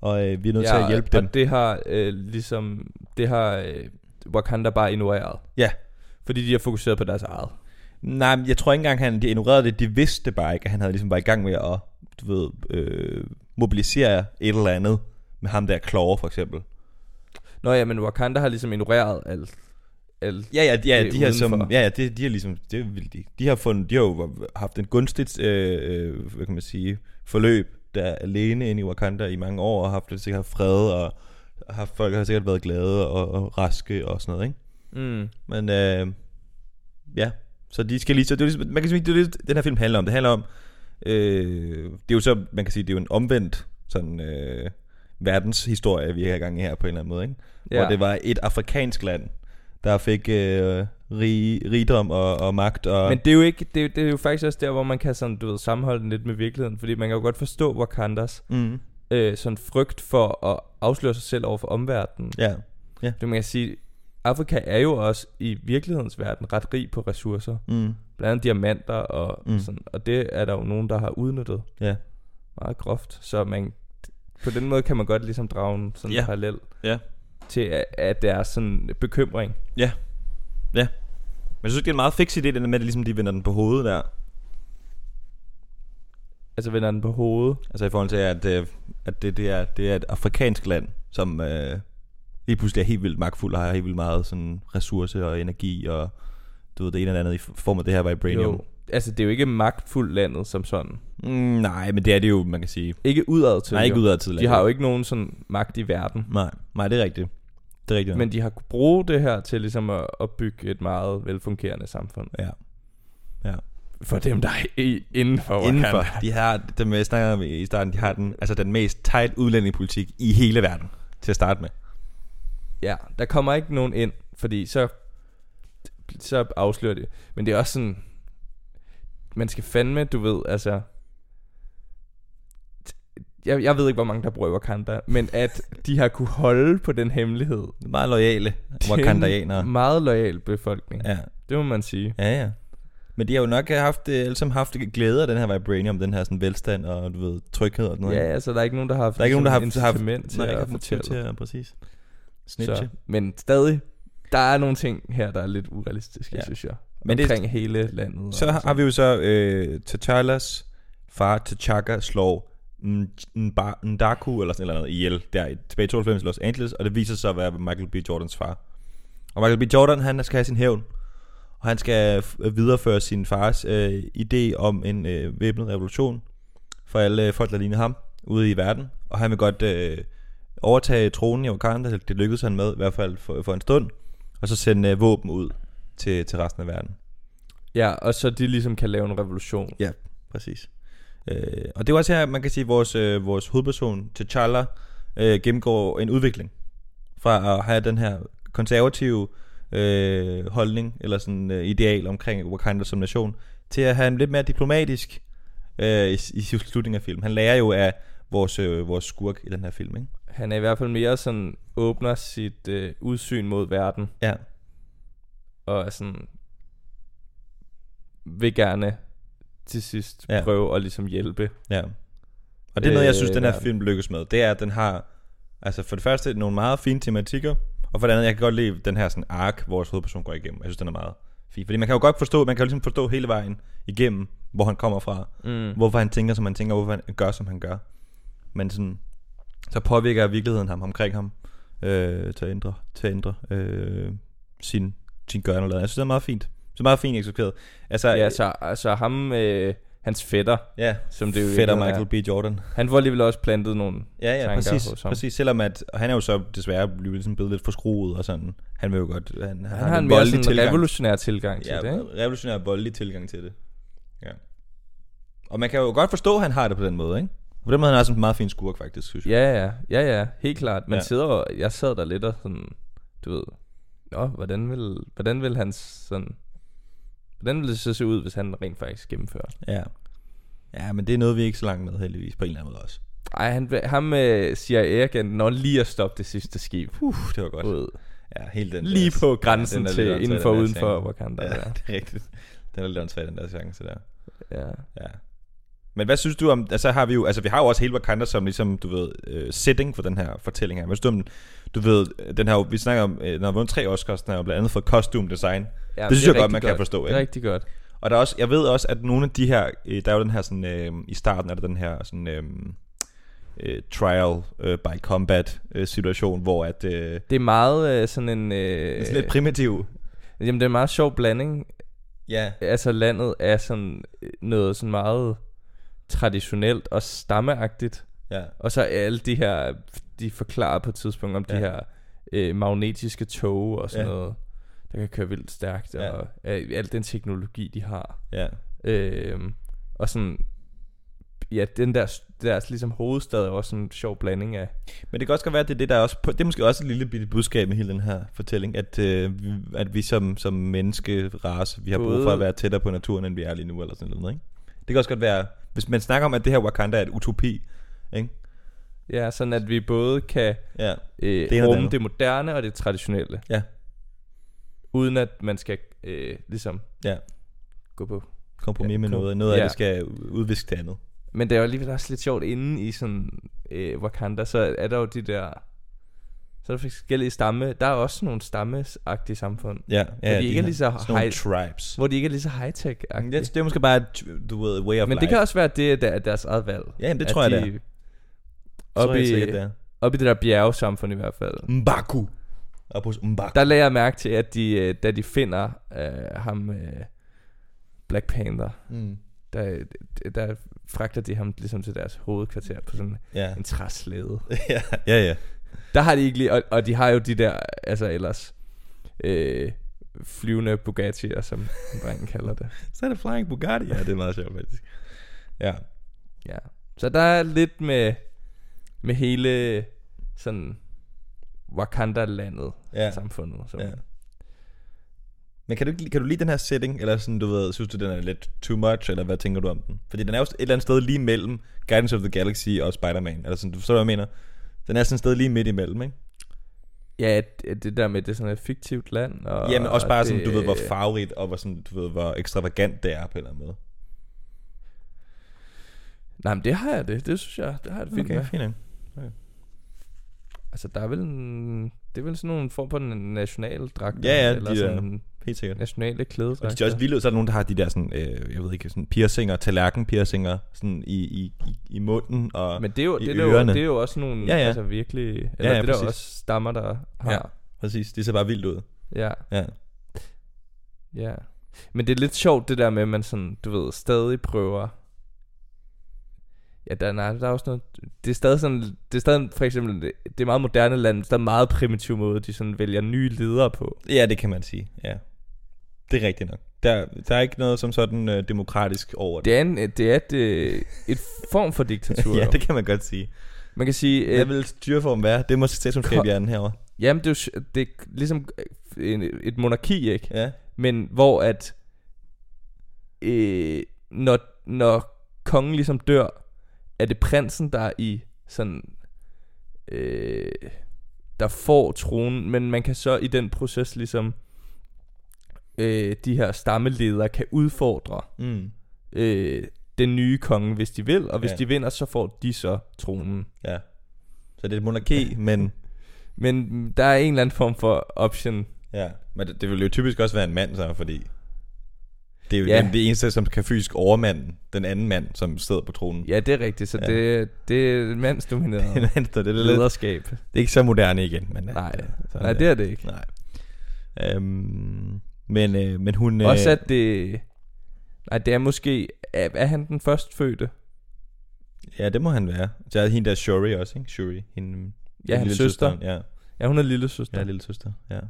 [SPEAKER 1] og øh, vi er nødt ja, til at hjælpe
[SPEAKER 2] og
[SPEAKER 1] dem. Det...
[SPEAKER 2] det har øh, ligesom, det har øh, Wakanda bare ignoreret.
[SPEAKER 1] Ja.
[SPEAKER 2] Fordi de har fokuseret på deres eget.
[SPEAKER 1] Nej, men jeg tror ikke engang, han de ignorerede det, de vidste det bare ikke, at han havde ligesom var i gang med at, du ved, øh, mobilisere et eller andet med ham der Claw for eksempel.
[SPEAKER 2] Nå ja, men Wakanda har ligesom ignoreret alt. alt.
[SPEAKER 1] Ja, ja, ja,
[SPEAKER 2] Det er
[SPEAKER 1] de her som,
[SPEAKER 2] udenfor.
[SPEAKER 1] ja, ja, de, de har ligesom, det vil de. De har fundet, de har jo haft en gunstigt, øh, øh, hvad kan man sige, forløb, der er alene inde i Wakanda i mange år, og haft det sikkert fred, og haft, folk har sikkert været glade og, og raske og sådan noget, ikke?
[SPEAKER 2] Mm.
[SPEAKER 1] Men øh, ja, så de skal lige, så det er ligesom, man kan sige, det er det, den her film handler om. Det handler om, øh, det er jo så, man kan sige, det er jo en omvendt sådan øh, verdenshistorie, vi har gang i her på en eller anden måde, ikke? ja. hvor det var et afrikansk land, der fik øh, rig, rigdom og, og magt. Og,
[SPEAKER 2] Men det er jo ikke, det er, det er jo faktisk også der, hvor man kan sådan, du ved, sammenholde den lidt med virkeligheden, fordi man kan jo godt forstå Wakandas
[SPEAKER 1] mm,
[SPEAKER 2] øh, sådan frygt for at afsløre sig selv over for omverdenen.
[SPEAKER 1] ja,
[SPEAKER 2] Det man kan sige, Afrika er jo også i virkelighedens verden ret rig på ressourcer,
[SPEAKER 1] mm,
[SPEAKER 2] blandt andet diamanter og mm.
[SPEAKER 1] Mm.
[SPEAKER 2] sådan, og det er der jo nogen, der har udnyttet
[SPEAKER 1] ja.
[SPEAKER 2] meget groft, så man på den måde kan man godt ligesom drage en sådan
[SPEAKER 1] Ja.
[SPEAKER 2] parallel
[SPEAKER 1] Ja.
[SPEAKER 2] til at, at der er sådan bekymring.
[SPEAKER 1] Men jeg synes, det er en meget fix idé, den der med, at ligesom de vender den på hovedet der.
[SPEAKER 2] Altså vender den på hovedet.
[SPEAKER 1] Altså i forhold til, at, øh, at det, det, er, det er et afrikansk land, som øh, lige pludselig er helt vildt magtfuld og har helt vildt meget sådan, ressourcer og energi og du ved, det ene eller andet i form af det her vibranium.
[SPEAKER 2] Jo. Altså det er jo ikke magtfuldt landet som sådan.
[SPEAKER 1] Mm, nej, men det er det jo, man kan sige.
[SPEAKER 2] Ikke udad til.
[SPEAKER 1] Nej, ikke
[SPEAKER 2] jo.
[SPEAKER 1] ud af tid.
[SPEAKER 2] De har jo ikke nogen sådan magt i verden.
[SPEAKER 1] Nej, nej, det er rigtigt. Det er rigtigt.
[SPEAKER 2] Ja. Men de har kunnet bruge det her til ligesom at, at bygge et meget velfungerende samfund.
[SPEAKER 1] ja.
[SPEAKER 2] For dem, der er i, inden for Wakanda.
[SPEAKER 1] Indenfor. De har, dem jeg snakkede om i starten, de har den, altså den mest tight udlændingepolitik i hele verden til at starte med.
[SPEAKER 2] Ja, der kommer ikke nogen ind, fordi så, så afslører det. Men det er også sådan, man skal fandme, du ved, altså... Jeg, jeg ved ikke, hvor mange der bruger Wakanda, men at de har kunne holde på den hemmelighed.
[SPEAKER 1] Det er meget lojale
[SPEAKER 2] Det er en
[SPEAKER 1] wakandianere.
[SPEAKER 2] Meget lojal befolkning, ja.
[SPEAKER 1] Ja,
[SPEAKER 2] det må man sige.
[SPEAKER 1] ja, ja. Men de har jo nok haft, øh, alle sammen haft glæde af den her vibranium, den her sådan velstand og du ved, tryghed og sådan noget.
[SPEAKER 2] Ja, altså der er ikke nogen, der har haft
[SPEAKER 1] Der er ikke nogen, der har
[SPEAKER 2] ligesom
[SPEAKER 1] haft-
[SPEAKER 2] incitament til
[SPEAKER 1] Nej, ikke
[SPEAKER 2] at
[SPEAKER 1] haft motiv
[SPEAKER 2] fortælle.
[SPEAKER 1] til at, præcis.
[SPEAKER 2] Så,
[SPEAKER 1] Snitche.
[SPEAKER 2] men stadig, der er nogle ting her, der er lidt urealistiske, ja.
[SPEAKER 1] Ja.
[SPEAKER 2] synes jeg. Men
[SPEAKER 1] Men det-
[SPEAKER 2] Omkring det, hele landet. og
[SPEAKER 1] Så, så har
[SPEAKER 2] sådan. altså.
[SPEAKER 1] vi jo så øh, T'Challas far T'Chaka slår N- Nba- Ndaku eller sådan et eller andet ihjel der i tilbage i 92 i Los Angeles, og det viser sig at være Michael B. Jordans far. Og Michael B. Jordan, han skal have sin hævn, og han skal f- videreføre sin fars øh, idé om en øh, væbnet revolution for alle øh, folk, der ligner ham ude i verden, og han vil godt øh, overtage tronen i Wakanda, det lykkedes han med, i hvert fald for, for en stund, og så sende øh, våben ud til, til resten af verden.
[SPEAKER 2] Ja, og så de ligesom kan lave en revolution.
[SPEAKER 1] Præcis. Øh, og det er jo også her, man kan sige, at vores, øh, vores hovedperson, T'Challa, øh, gennemgår en udvikling. fra at have den her konservative øh, holdning, eller sådan øh, ideal omkring Wakanda som nation, til at have en lidt mere diplomatisk øh, i, i slutningen af filmen. Han lærer jo af vores, øh, vores skurk i den her film, ikke?
[SPEAKER 2] Han er i hvert fald mere sådan, åbner sit øh, udsyn mod verden,
[SPEAKER 1] Ja.
[SPEAKER 2] og er sådan, vil gerne til sidst
[SPEAKER 1] Ja.
[SPEAKER 2] ja. prøve at ligesom hjælpe.
[SPEAKER 1] Ja. Og det er noget, jeg synes,
[SPEAKER 2] Øh,
[SPEAKER 1] den her
[SPEAKER 2] ja.
[SPEAKER 1] film lykkes med. Det er, at den har, altså for det første, nogle meget fine tematikker, og for det andet, jeg kan godt lide den her sådan ark, vores hovedperson går igennem. Jeg synes, den er meget fin. Fordi man kan jo godt forstå, man kan jo ligesom forstå hele vejen igennem, hvor han kommer fra,
[SPEAKER 2] Mm.
[SPEAKER 1] hvorfor han tænker, som han tænker, hvorfor han gør, som han gør. Men sådan, så påvirker virkeligheden ham omkring ham øh, til at ændre, til at ændre øh, sin, sin gørne og laden. Jeg synes, det er meget fint. Så meget fint eksekveret. Altså,
[SPEAKER 2] Ja, så altså, ham, øh, hans fætter,
[SPEAKER 1] ja
[SPEAKER 2] som det jo
[SPEAKER 1] fætter
[SPEAKER 2] virkelig er.
[SPEAKER 1] Michael B. Jordan.
[SPEAKER 2] han får alligevel også plantet nogle
[SPEAKER 1] Ja, ja,
[SPEAKER 2] tanker
[SPEAKER 1] præcis,
[SPEAKER 2] hos ham.
[SPEAKER 1] præcis. Selvom at, og han er jo så desværre blevet, ligesom blevet lidt forskruet og sådan. Han vil jo godt, han, han,
[SPEAKER 2] Han har en mere
[SPEAKER 1] voldelig
[SPEAKER 2] sådan
[SPEAKER 1] tilgang.
[SPEAKER 2] revolutionær tilgang til
[SPEAKER 1] ja,
[SPEAKER 2] ja, det, ikke?
[SPEAKER 1] revolutionær og voldelig tilgang til det. Ja. Og man kan jo godt forstå, at han har det på den måde, ikke? På den måde han er han også en meget fin skurk, faktisk, synes jeg.
[SPEAKER 2] Ja, ja, ja, ja, helt klart. Man
[SPEAKER 1] Ja.
[SPEAKER 2] ja. sidder og, jeg sad der lidt og sådan, du ved, nå, hvordan vil, hvordan vil han sådan, hvordan vil det så se ud, hvis han rent faktisk gennemfører?
[SPEAKER 1] Ja. Ja, men det er noget, vi er ikke så langt med, heldigvis, på en eller anden måde også.
[SPEAKER 2] Ej, han, vil- ham øh, siger agenten, når lige at stoppe det sidste skib.
[SPEAKER 1] Puh, det var godt.
[SPEAKER 2] Uh, Ud.
[SPEAKER 1] Ja, helt den
[SPEAKER 2] Lige
[SPEAKER 1] der-
[SPEAKER 2] på
[SPEAKER 1] den
[SPEAKER 2] grænsen ja,
[SPEAKER 1] er lidt
[SPEAKER 2] til
[SPEAKER 1] åndssvag,
[SPEAKER 2] inden for
[SPEAKER 1] den der
[SPEAKER 2] uden for
[SPEAKER 1] chance.
[SPEAKER 2] Wakanda.
[SPEAKER 1] Ja,
[SPEAKER 2] Ja.
[SPEAKER 1] det er rigtigt. Den er lidt åndssvag, den der chance der.
[SPEAKER 2] ja.
[SPEAKER 1] Ja. Men hvad synes du om, altså har vi jo, altså vi har jo også hele Wakanda som ligesom, du ved, øh, setting for den her fortælling her. Hvad synes du om, du ved, øh, den her, jo- vi snakker om, øh, den har vundet tre Oscars, den har jo blandt andet for costume design.
[SPEAKER 2] ja
[SPEAKER 1] det synes
[SPEAKER 2] er
[SPEAKER 1] jeg godt,
[SPEAKER 2] rigtig
[SPEAKER 1] man kan forstå,
[SPEAKER 2] Det
[SPEAKER 1] ikke?
[SPEAKER 2] er rigtig godt.
[SPEAKER 1] Og der er også, jeg ved også, at nogle af de her, øh, der er jo den her sådan, øh, i starten er der den her sådan, øh, øh, trial øh, by combat øh, situation, hvor at, øh, det
[SPEAKER 2] Det er meget øh, sådan en... Øh,
[SPEAKER 1] er sådan lidt primitiv.
[SPEAKER 2] jamen, det er en meget sjov blanding
[SPEAKER 1] Ja,
[SPEAKER 2] altså landet er sådan øh, noget sådan meget traditionelt og stammeagtigt.
[SPEAKER 1] ja,
[SPEAKER 2] Og så er alle de her, de forklarer på et tidspunkt om ja.
[SPEAKER 1] Ja.
[SPEAKER 2] de her øh, magnetiske tog og sådan
[SPEAKER 1] Ja.
[SPEAKER 2] ja. noget, der kan køre vildt stærkt,
[SPEAKER 1] Ja.
[SPEAKER 2] ja. og øh, al den teknologi, de har.
[SPEAKER 1] ja,
[SPEAKER 2] Øh, og sådan, ja, den der, deres ligesom hovedstad er også sådan en sjov blanding af,
[SPEAKER 1] Men det kan også godt være, at det er det, der er også på, det er måske også et lille bitte budskab med hele den her fortælling, at, øh, vi- at vi som, som menneskerace, vi har brug for
[SPEAKER 2] Både-
[SPEAKER 1] at være tættere på naturen, end vi er lige nu, eller sådan noget, ikke? Det kan også godt være, hvis man snakker om, at det her Wakanda er et utopi, ikke?
[SPEAKER 2] ja, sådan at vi både kan
[SPEAKER 1] Ja, Det
[SPEAKER 2] øh,
[SPEAKER 1] ene og det
[SPEAKER 2] det rumme
[SPEAKER 1] andet.
[SPEAKER 2] det, det moderne og det traditionelle.
[SPEAKER 1] Ja.
[SPEAKER 2] Uden at man skal øh, ligesom
[SPEAKER 1] Ja.
[SPEAKER 2] gå på.
[SPEAKER 1] kompromis
[SPEAKER 2] Ja,
[SPEAKER 1] med
[SPEAKER 2] kom-
[SPEAKER 1] noget, noget ja. af
[SPEAKER 2] ja.
[SPEAKER 1] det skal udviske det andet.
[SPEAKER 2] Men det er jo alligevel også lidt sjovt inde i sådan øh, Wakanda, så er der jo de der... Så er der forskellige stamme. Der er også nogle stammesagtige samfund,
[SPEAKER 1] Ja, ja,
[SPEAKER 2] de ikke er lige så
[SPEAKER 1] sådan nogle
[SPEAKER 2] high-
[SPEAKER 1] tribes.
[SPEAKER 2] hvor de ikke er lige så high-tech-agtige.
[SPEAKER 1] Det, det er måske bare, et, du ved, way of
[SPEAKER 2] Men
[SPEAKER 1] life.
[SPEAKER 2] det kan også være, at det er der- deres eget valg.
[SPEAKER 1] Ja, jamen, det
[SPEAKER 2] At
[SPEAKER 1] tror jeg, det
[SPEAKER 2] de-
[SPEAKER 1] Tror
[SPEAKER 2] Op
[SPEAKER 1] jeg
[SPEAKER 2] i,
[SPEAKER 1] sikkert, det er.
[SPEAKER 2] op i det der bjergesamfund i hvert fald.
[SPEAKER 1] Mbaku. Og på Mbaku.
[SPEAKER 2] Der lagde jeg mærke til, at de, øh, da de finder øh, ham, øh, Black Panther,
[SPEAKER 1] Mm.
[SPEAKER 2] der, der fragter de ham ligesom til deres hovedkvarter på sådan
[SPEAKER 1] Ja.
[SPEAKER 2] en træslede.
[SPEAKER 1] ja, ja, ja.
[SPEAKER 2] Der har de ikke lige, og, og de har jo de der, altså ellers, øh, flyvende Bugatti'er, som drengen kalder det.
[SPEAKER 1] Så er det Flying Bugatti. Ja, det er meget sjovt, faktisk. Ja.
[SPEAKER 2] Ja. Så der er lidt med, med hele sådan Wakanda-landet,
[SPEAKER 1] Ja.
[SPEAKER 2] ja. samfundet. Som,
[SPEAKER 1] Ja.
[SPEAKER 2] ja.
[SPEAKER 1] Men kan du, ikke li- kan du lide den her setting, eller sådan, du ved, synes du, den er lidt too much, eller hvad tænker du om den? Fordi den er jo et eller andet sted lige mellem Guardians of the Galaxy og Spider-Man, eller sådan, du forstår, hvad jeg mener? Den er sådan et sted lige midt imellem, ikke?
[SPEAKER 2] ja, at- at det der med, at det er sådan et fiktivt land. Og,
[SPEAKER 1] Og, Jamen også bare
[SPEAKER 2] og
[SPEAKER 1] sådan,
[SPEAKER 2] det-
[SPEAKER 1] du ved, hvor farverigt, og hvor, sådan, du ved, hvor ekstravagant det er på en eller anden måde.
[SPEAKER 2] Nej, men det har jeg det. Det synes jeg, det har jeg det fint okay. med.
[SPEAKER 1] fint. nok.
[SPEAKER 2] Altså, der er vel en... Det er vel sådan nogle form for en national dragt.
[SPEAKER 1] Ja, ja,
[SPEAKER 2] eller
[SPEAKER 1] de der-
[SPEAKER 2] sådan
[SPEAKER 1] Helt sikkert.
[SPEAKER 2] nationale
[SPEAKER 1] Og
[SPEAKER 2] klædedragter.
[SPEAKER 1] det er også vildt, ud, så er der nogen, der har de der sådan, øh, jeg ved ikke, sådan piercinger, tallerken piercinger, sådan i, i, i, i munden, og
[SPEAKER 2] Men det er, jo,
[SPEAKER 1] i
[SPEAKER 2] det, er jo,
[SPEAKER 1] ørerne.
[SPEAKER 2] det er jo også nogle
[SPEAKER 1] Ja,
[SPEAKER 2] ja,
[SPEAKER 1] ja.
[SPEAKER 2] ja. Altså, virkelig... Eller
[SPEAKER 1] Ja,
[SPEAKER 2] ja,
[SPEAKER 1] ja,
[SPEAKER 2] ja, det er der
[SPEAKER 1] præcis.
[SPEAKER 2] også stammer, der har.
[SPEAKER 1] præcis, det ser bare vildt ud.
[SPEAKER 2] Ja. ja.
[SPEAKER 1] Ja.
[SPEAKER 2] Ja. Men det er lidt sjovt det der med, at man sådan, du ved, stadig prøver... Ja, der, nej, der er også noget... Det er stadig sådan... Det er stadig for eksempel... Det, det er meget moderne land, men der er en meget primitiv måde, de sådan vælger nye ledere på.
[SPEAKER 1] Ja, det kan man sige, ja. Det er rigtigt nok. Der, der er ikke noget som sådan øh, demokratisk over det.
[SPEAKER 2] Det er, en, det er et, øh, et form for diktatur.
[SPEAKER 1] ja,
[SPEAKER 2] jo.
[SPEAKER 1] det kan man godt sige.
[SPEAKER 2] Man kan sige... øh,
[SPEAKER 1] Hvad vil styreformen være? Det må statsundskab hjernen herovre.
[SPEAKER 2] Jamen, det er jo s- det er ligesom øh, en, et monarki, ikke?
[SPEAKER 1] Ja.
[SPEAKER 2] Men hvor at... Øh, når, når kongen ligesom dør, er det prinsen, der er i sådan... Øh, der får tronen, men man kan så i den proces ligesom... Øh, de her stammeledere kan udfordre
[SPEAKER 1] Mm.
[SPEAKER 2] øh, den nye konge, hvis de vil, og hvis
[SPEAKER 1] Ja.
[SPEAKER 2] ja. de vinder, så får de så tronen.
[SPEAKER 1] Ja. Så det er et monarki, men...
[SPEAKER 2] Men mm, der er en eller anden form for option.
[SPEAKER 1] Ja. Men det, det vil jo typisk også være en mand så, fordi... Det er jo
[SPEAKER 2] Ja.
[SPEAKER 1] ja. den, det eneste, som kan fysisk overmande den anden mand, som sidder på tronen.
[SPEAKER 2] Ja, det er rigtigt, så
[SPEAKER 1] Ja.
[SPEAKER 2] ja. det, det er et mandsdomineret
[SPEAKER 1] Den anden, så det, er lidt,
[SPEAKER 2] lederskab.
[SPEAKER 1] det er ikke så moderne igen, men...
[SPEAKER 2] Nej,
[SPEAKER 1] sådan
[SPEAKER 2] Nej, det er det ikke.
[SPEAKER 1] Nej. Øhm, men, øh, men hun...
[SPEAKER 2] Næh. Også at det... Nej, det er måske... Er, er han den førstfødte?
[SPEAKER 1] Ja, det må han være. Så er hende der Shuri også, ikke? Shuri. Hende,
[SPEAKER 2] Ja, hans søster.
[SPEAKER 1] søsteren, Ja,
[SPEAKER 2] Ja, hun er lille søster.
[SPEAKER 1] ja lille søster. Ja.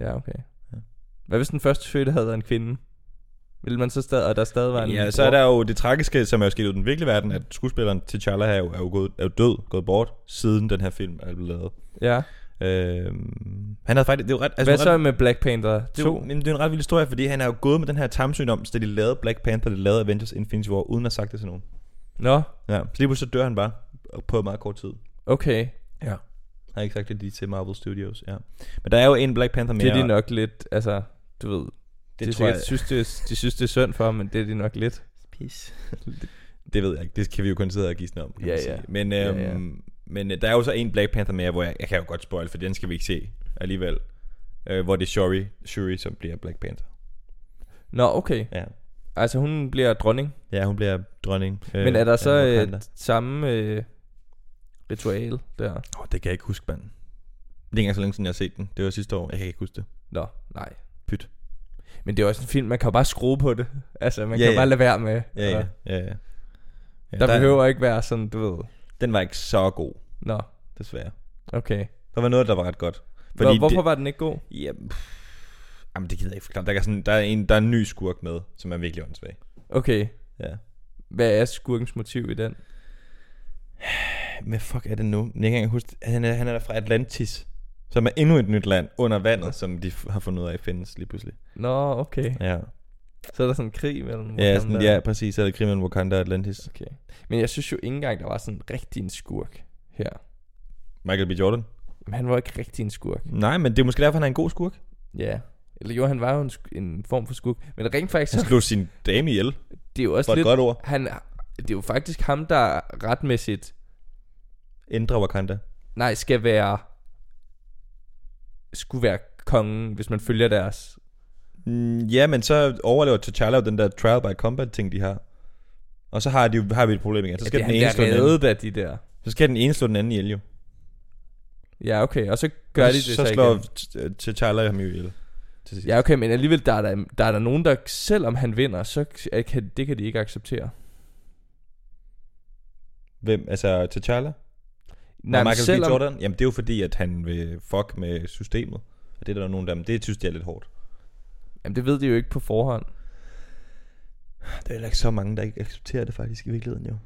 [SPEAKER 2] ja okay.
[SPEAKER 1] Ja.
[SPEAKER 2] Hvad hvis den førstfødte havde været en kvinde? Vil man så stadig... Og der stadig var en
[SPEAKER 1] Ja,
[SPEAKER 2] bror?
[SPEAKER 1] så er der jo det tragiske, som er jo sket i den virkelige verden, at skuespilleren T'Challa er jo, er jo, gået, er jo død, gået bort, siden den her film er blevet lavet.
[SPEAKER 2] Ja.
[SPEAKER 1] Øhm, han havde faktisk... Det er jo ret, altså,
[SPEAKER 2] Hvad
[SPEAKER 1] en
[SPEAKER 2] så
[SPEAKER 1] ret,
[SPEAKER 2] med Black Panther
[SPEAKER 1] det er, jo,
[SPEAKER 2] 2?
[SPEAKER 1] jamen, det er en ret vild historie, fordi han er jo gået med den her tamsyn om, så de lavede Black Panther, de lavede Avengers Infinity War, uden at have sagt det til nogen.
[SPEAKER 2] Nå,
[SPEAKER 1] Ja, så lige pludselig så dør han bare på meget kort tid.
[SPEAKER 2] okay.
[SPEAKER 1] Han har ikke sagt det lige til Marvel Studios, ja. Men der er jo en Black Panther mere.
[SPEAKER 2] Det er de nok lidt... Altså, du ved...
[SPEAKER 1] Det,
[SPEAKER 2] de,
[SPEAKER 1] det tror jeg...
[SPEAKER 2] Synes, det, er- de synes, det er synd for ham, men det er de nok lidt.
[SPEAKER 1] Pis. det ved jeg ikke. Det kan vi jo kun sidde og gisne om. kan
[SPEAKER 2] Ja,
[SPEAKER 1] man sige.
[SPEAKER 2] ja.
[SPEAKER 1] Men,
[SPEAKER 2] Ja,
[SPEAKER 1] øhm,
[SPEAKER 2] ja.
[SPEAKER 1] men øh, der er jo så en Black Panther mere, hvor jeg, jeg kan jo godt spoil, for den skal vi ikke se alligevel. Øh, hvor det er Shuri, Shuri, som bliver Black Panther.
[SPEAKER 2] Nå, okay.
[SPEAKER 1] Ja,
[SPEAKER 2] Altså, hun bliver dronning.
[SPEAKER 1] ja hun bliver dronning. Øh,
[SPEAKER 2] Men er der
[SPEAKER 1] af
[SPEAKER 2] så
[SPEAKER 1] Wakanda.
[SPEAKER 2] øh, samme øh, ritual der?
[SPEAKER 1] Åh, oh, det kan jeg ikke huske, mand. Det er ikke engang så længe siden, jeg har set den. Det var sidste år. Jeg kan ikke huske det.
[SPEAKER 2] Nå, nej.
[SPEAKER 1] Pyt.
[SPEAKER 2] Men det er også en film, man kan jo bare skrue på det. Altså, man
[SPEAKER 1] Ja,
[SPEAKER 2] kan
[SPEAKER 1] ja.
[SPEAKER 2] jo bare lade være med.
[SPEAKER 1] Ja, ja,
[SPEAKER 2] Og
[SPEAKER 1] ja. ja. ja
[SPEAKER 2] Der behøver ikke være sådan, du ved.
[SPEAKER 1] Den var ikke så god,
[SPEAKER 2] Nå,
[SPEAKER 1] desværre.
[SPEAKER 2] okay.
[SPEAKER 1] Der var noget, der var ret godt.
[SPEAKER 2] Fordi Hvor, hvorfor det... var den ikke god?
[SPEAKER 1] Ja, pff, jamen det gider jeg ikke forklare. Der er, sådan, der, er en, der er en ny skurk med, som er virkelig åndssvag.
[SPEAKER 2] Okay.
[SPEAKER 1] Ja.
[SPEAKER 2] Hvad er skurkens motiv i den?
[SPEAKER 1] Hvad fuck er det nu? Jeg kan ikke engang huske, det. han er, han er der fra Atlantis, som er endnu et nyt land under vandet, som de f- har fundet ud af findes lige pludselig.
[SPEAKER 2] Nå, okay.
[SPEAKER 1] Ja,
[SPEAKER 2] Så er der sådan en krig mellem
[SPEAKER 1] ja,
[SPEAKER 2] Wakanda-
[SPEAKER 1] sådan, ja præcis. Så er der krig mellem Wakanda og Atlantis.
[SPEAKER 2] Okay. Men jeg synes jo ikke engang, der var sådan rigtig en skurk her.
[SPEAKER 1] Michael B. Jordan?
[SPEAKER 2] Men han var ikke rigtig en skurk.
[SPEAKER 1] Nej, men det er måske derfor, han er en god skurk.
[SPEAKER 2] Ja. Eller jo, han var jo en, sk- en form for skurk. Men rent faktisk,
[SPEAKER 1] Han
[SPEAKER 2] så,
[SPEAKER 1] slog sin dame ihjel,
[SPEAKER 2] det er jo også
[SPEAKER 1] for et
[SPEAKER 2] lidt...
[SPEAKER 1] godt ord.
[SPEAKER 2] Han, det er jo faktisk ham, der retmæssigt
[SPEAKER 1] Ændre Wakanda.
[SPEAKER 2] nej, skal være, skulle være kongen, hvis man følger deres.
[SPEAKER 1] Mm, ja, men så overlever T'Challa jo den der trial by combat ting, de har. Og så har, de, jo- har vi et problem igen. Så skal,
[SPEAKER 2] Altså, det,
[SPEAKER 1] den ene
[SPEAKER 2] han
[SPEAKER 1] slå den
[SPEAKER 2] bliver
[SPEAKER 1] anden.
[SPEAKER 2] reddet af de der.
[SPEAKER 1] så skal den ene slå den anden ihjel jo.
[SPEAKER 2] Ja, okay, og så gør de det
[SPEAKER 1] så,
[SPEAKER 2] så,
[SPEAKER 1] så slår
[SPEAKER 2] igen.
[SPEAKER 1] t- t- T'Challa ham jo ihjel. til sidst.
[SPEAKER 2] Ja, okay, men alligevel, der er der, der er der nogen, der, selvom han vinder, så k- kan, det kan de ikke acceptere.
[SPEAKER 1] Hvem? Altså T'Challa?
[SPEAKER 2] Nej, men
[SPEAKER 1] Michael B.
[SPEAKER 2] selvom,
[SPEAKER 1] Jordan? Jamen det er jo fordi, at han vil fuck med systemet. Og det er der jo nogen, der... Men det synes de er lidt hårdt.
[SPEAKER 2] jamen, det ved de jo ikke på forhånd.
[SPEAKER 1] Der er heller ikke så mange, der ikke accepterer det faktisk i virkeligheden jo.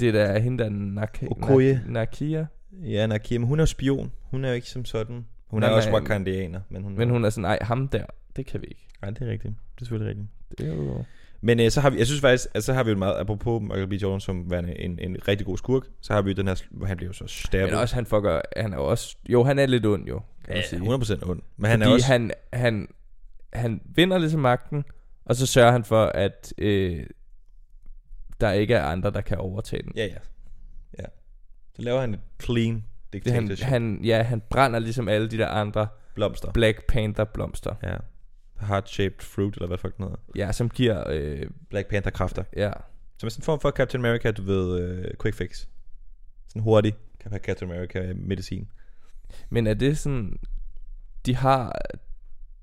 [SPEAKER 2] Det er da hende, der er Nak-
[SPEAKER 1] Okoye.
[SPEAKER 2] Nak- Nakia,
[SPEAKER 1] Ja, Nakia, men hun er jo spion. Hun er jo ikke som sådan. Hun
[SPEAKER 2] Nej,
[SPEAKER 1] er også
[SPEAKER 2] nej.
[SPEAKER 1] wakandianer, men hun...
[SPEAKER 2] men hun er sådan, nej, ham der, det kan vi ikke.
[SPEAKER 1] Nej, det er rigtigt. Det er selvfølgelig rigtigt.
[SPEAKER 2] Det er jo...
[SPEAKER 1] Men øh, så har vi, jeg synes faktisk, at så har vi jo en meget, apropos Michael B. Jordan som værende en, en rigtig god skurk, så har vi jo den her, sl- hvor han bliver jo så
[SPEAKER 2] Men
[SPEAKER 1] stabbet.
[SPEAKER 2] også, han fucker, han er jo også, jo, han er lidt ond jo, kan man
[SPEAKER 1] ja,
[SPEAKER 2] sige.
[SPEAKER 1] 100% ond. Men han er
[SPEAKER 2] Fordi
[SPEAKER 1] også...
[SPEAKER 2] han, han, han vinder ligesom magten, og så sørger han for, at øh, der ikke er andre, der kan overtage den.
[SPEAKER 1] Ja, ja. Ja. Så laver han et clean
[SPEAKER 2] Det, han,
[SPEAKER 1] dictatorship.
[SPEAKER 2] han, ja, han brænder ligesom alle de der andre
[SPEAKER 1] Blomster.
[SPEAKER 2] Black Panther blomster.
[SPEAKER 1] Ja. Heart-shaped fruit, eller hvad fuck den hedder.
[SPEAKER 2] Ja, som giver, øh,
[SPEAKER 1] Black Panther-kræfter.
[SPEAKER 2] ja,
[SPEAKER 1] Som er sådan en form for Captain America, du ved, øh, quick fix. Sådan hurtig Cap- Captain øh, America-medicin.
[SPEAKER 2] men er det sådan, de har,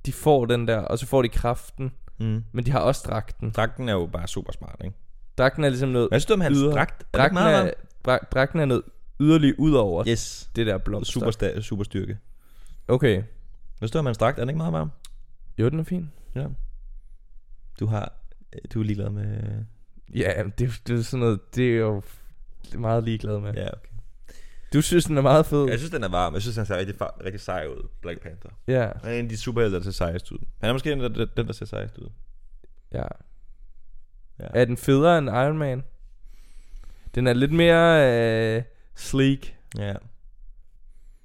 [SPEAKER 2] de får den der, og så får de kraften,
[SPEAKER 1] Mm.
[SPEAKER 2] men de har også dragten.
[SPEAKER 1] Dragten er jo bare super smart, ikke?
[SPEAKER 2] Dragten er ligesom noget,
[SPEAKER 1] Hvad synes du om hans
[SPEAKER 2] Yder.
[SPEAKER 1] dragt? Er det ikke
[SPEAKER 2] dragten
[SPEAKER 1] meget
[SPEAKER 2] er, dra- dragten er noget yderligere ud over
[SPEAKER 1] varm?
[SPEAKER 2] yes.
[SPEAKER 1] Yes.
[SPEAKER 2] det der blomster.
[SPEAKER 1] Super, sta- super styrke.
[SPEAKER 2] Okay,
[SPEAKER 1] Hvad synes du om hans dragt? Er den ikke meget varm?
[SPEAKER 2] jo, den er fin.
[SPEAKER 1] Ja. Du har... øh, Du er ligeglad med...
[SPEAKER 2] Ja, det, det er sådan noget, det er jo meget ligeglad med. Ja.
[SPEAKER 1] Ja, okay.
[SPEAKER 2] Du synes, den er meget fed.
[SPEAKER 1] Jeg synes, den er varm. Jeg synes, han ser rigtig, fa- rigtig sej ud, Black Panther.
[SPEAKER 2] Ja,
[SPEAKER 1] Han er en af de superhelte, der ser sejest ud. Han er måske en af de- den, der ser sejest ud.
[SPEAKER 2] ja.
[SPEAKER 1] Ja.
[SPEAKER 2] Er den federe end Iron Man? Den er lidt mere øh, sleek.
[SPEAKER 1] ja.
[SPEAKER 2] Iron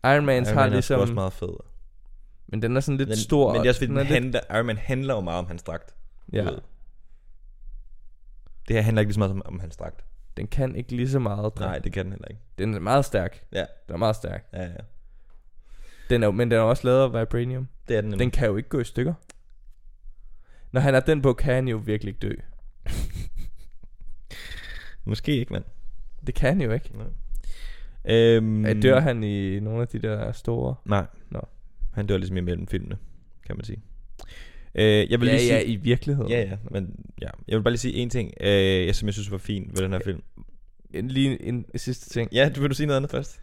[SPEAKER 1] Iron
[SPEAKER 2] Man's Iron
[SPEAKER 1] Man
[SPEAKER 2] har
[SPEAKER 1] er sgu
[SPEAKER 2] ligesom...
[SPEAKER 1] også meget fed.
[SPEAKER 2] Men den er sådan lidt stor.
[SPEAKER 1] Men det er også, fordi den
[SPEAKER 2] er lidt,
[SPEAKER 1] handler, Iron Man handler jo meget om hans dragt. du
[SPEAKER 2] ja,
[SPEAKER 1] ved. Det her handler ikke lige så meget om, om hans dragt.
[SPEAKER 2] den kan ikke lige så meget. Den.
[SPEAKER 1] Nej, det kan den heller ikke.
[SPEAKER 2] Den er meget stærk.
[SPEAKER 1] Ja.
[SPEAKER 2] Den er meget stærk.
[SPEAKER 1] Ja, ja.
[SPEAKER 2] Den er, jo- men den er også lavet af vibranium.
[SPEAKER 1] Det er den
[SPEAKER 2] Den kan jo ikke gå i stykker. Når han er den på, kan han jo virkelig ikke dø.
[SPEAKER 1] Måske ikke, mand.
[SPEAKER 2] Det kan han jo ikke.
[SPEAKER 1] Nej. Øhm,
[SPEAKER 2] Mm. Dør han i nogle af de der store...
[SPEAKER 1] Nej.
[SPEAKER 2] Nå.
[SPEAKER 1] Han dør ligesom imellem filmene, kan man sige. Øh, jeg vil
[SPEAKER 2] ja,
[SPEAKER 1] lige sige,
[SPEAKER 2] ja, i virkeligheden.
[SPEAKER 1] Ja, ja, men ja. Jeg vil bare lige sige en ting, øh, jeg, som jeg synes var fint ved den her film.
[SPEAKER 2] En- Lige en, en sidste ting.
[SPEAKER 1] Ja, du vil du sige noget andet først?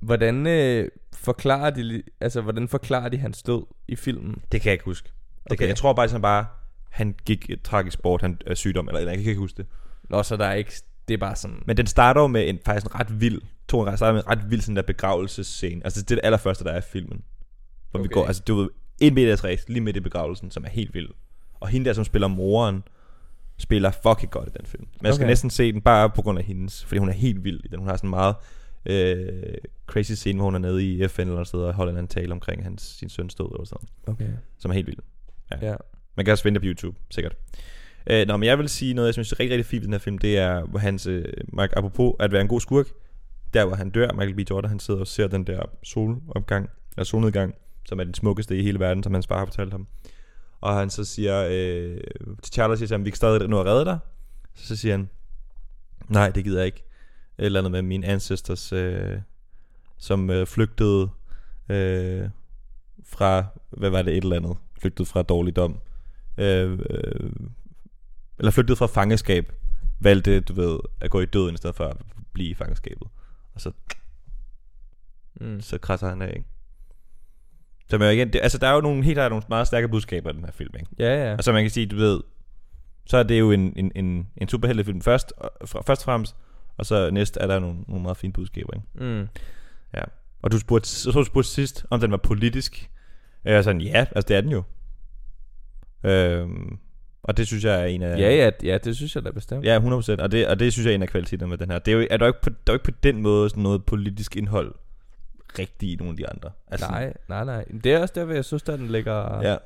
[SPEAKER 2] Hvordan øh, forklarer de... li- Altså, hvordan forklarer de hans død i filmen?
[SPEAKER 1] Det kan jeg ikke huske. Det okay.
[SPEAKER 2] Okay.
[SPEAKER 1] kan, jeg tror bare, at han bare, han gik et tragisk bort, han er sygdom, eller, eller jeg kan ikke huske det.
[SPEAKER 2] Nå, så der er ikke... Det er bare sådan...
[SPEAKER 1] Men den starter jo med en, faktisk en ret vild, to en starter med en ret vild sådan der begravelsesscene. Altså det er det allerførste, der er i filmen. Hvor okay. vi
[SPEAKER 2] Okay.
[SPEAKER 1] går, altså du ved, en meter træ, lige midt i begravelsen, som er helt vild. Og hende der, som spiller moren, spiller fucking godt i den film. Man skal
[SPEAKER 2] Okay.
[SPEAKER 1] næsten se den bare på grund af hendes, fordi hun er helt vild i den. Hun har sådan en meget øh, crazy scene, hvor hun er nede i FN eller noget sted, og holder en tale omkring hans, sin søns død eller sådan
[SPEAKER 2] Okay.
[SPEAKER 1] som er helt vild.
[SPEAKER 2] Ja.
[SPEAKER 1] Man kan også finde det på YouTube, sikkert. Øh, nå, men jeg vil sige noget, jeg synes er rigtig, rigtig fint i den her film, det er hvor hans, øh, Mark, apropos at være en god skurk, der hvor han dør, Michael B. Jordan, han sidder og ser den der solopgang, eller solnedgang, som er den smukkeste i hele verden, som hans far har fortalt ham. Og han så siger, øh, til Charles siger til ham, vi kan stadig nå at redde dig. Så, så siger han, nej, det gider jeg ikke. Et eller andet med mine ancestors, øh, som øh, flygtede øh, fra, hvad var det, et eller andet, flygtede fra dårligdom øh, øh, eller flygtede fra fangeskab, valgte, du ved, at gå i døden i stedet for at blive i fangeskabet. Og så,
[SPEAKER 2] Mm.
[SPEAKER 1] så krasser han af, ikke? Så man, jo igen, det, altså, der er jo nogle helt klart nogle meget stærke budskaber i den her film, ikke?
[SPEAKER 2] Ja, ja.
[SPEAKER 1] Og så man kan sige, du ved, så er det jo en, en, en, en superheltefilm først, og, fra, først og fremmest, og så næst er der nogle, nogle meget fine budskaber, ikke?
[SPEAKER 2] Mm.
[SPEAKER 1] Og du spurgte, så du spurgte sidst, om den var politisk. Og jeg var sådan, ja, altså det er den jo. Øhm, og det synes jeg er en af...
[SPEAKER 2] Ja, ja, ja, det synes jeg da bestemt.
[SPEAKER 1] Ja, 100%. Og det, og det synes jeg er en af kvaliteterne med den her. Det er jo, er der, jo ikke på, der er jo ikke på den måde sådan noget politisk indhold rigtigt i nogle af de andre. Altså,
[SPEAKER 2] Nej, nej, nej. Altså- Men Det er også der, hvor jeg synes, der den ligger, ja.
[SPEAKER 1] Ja,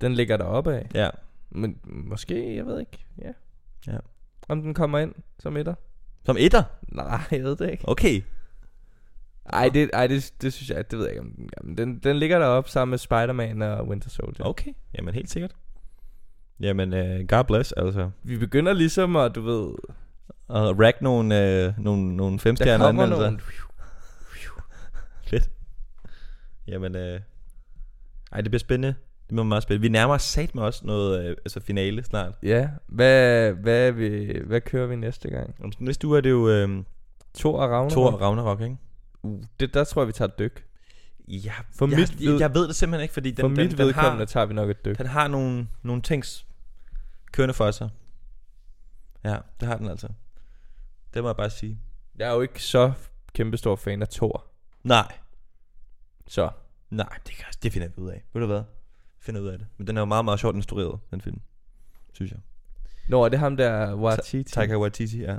[SPEAKER 2] den ligger deroppe af.
[SPEAKER 1] ja.
[SPEAKER 2] Men måske, jeg ved ikke. Ja.
[SPEAKER 1] Ja.
[SPEAKER 2] Om den kommer ind som etter?
[SPEAKER 1] Som etter?
[SPEAKER 2] Nej, jeg ved det ikke.
[SPEAKER 1] Okay.
[SPEAKER 2] Ej, det, ej, det, det synes jeg, det ved jeg ikke. om den- Jamen, den, den ligger deroppe sammen med Spider-Man og Winter Soldier.
[SPEAKER 1] Okay. Jamen, helt sikkert. Jamen, uh, God bless, altså.
[SPEAKER 2] Vi begynder ligesom at, du ved,
[SPEAKER 1] Og rack nogle, øh, nogle, nogle
[SPEAKER 2] der
[SPEAKER 1] femstjerne
[SPEAKER 2] kommer
[SPEAKER 1] anmeldelser.
[SPEAKER 2] nogle...
[SPEAKER 1] Nogle. Jamen, øh, ej, det bliver spændende. Det bliver meget spændende. Vi nærmer os sat med også noget øh, altså finale snart.
[SPEAKER 2] Ja, hvad, hvad, er vi, hvad kører vi næste gang?
[SPEAKER 1] Om Næste uge er det jo øh,
[SPEAKER 2] Thor og Ragnarok?
[SPEAKER 1] Thor og Ragnarok, ikke?
[SPEAKER 2] Uh, det, der tror jeg, vi tager et dyk.
[SPEAKER 1] Ja,
[SPEAKER 2] For
[SPEAKER 1] jeg,
[SPEAKER 2] mit ved-
[SPEAKER 1] jeg, jeg ved det simpelthen ikke, fordi den,
[SPEAKER 2] For
[SPEAKER 1] den,
[SPEAKER 2] mit
[SPEAKER 1] den,
[SPEAKER 2] vedkommende
[SPEAKER 1] har,
[SPEAKER 2] tager vi nok et dyk.
[SPEAKER 1] den har nogle, nogle ting kørende for sig. Ja, det har den altså. Det må jeg bare sige.
[SPEAKER 2] Jeg er jo ikke så kæmpestor fan af Thor.
[SPEAKER 1] Nej,
[SPEAKER 2] Så,
[SPEAKER 1] nej, det, kan, det finder vi ud af. Ved du hvad? Finder ud af det. Men den er jo meget, meget sjovt instrueret, den film. Synes jeg.
[SPEAKER 2] Nå, er det ham der Watiti?
[SPEAKER 1] Taika Waititi, ja.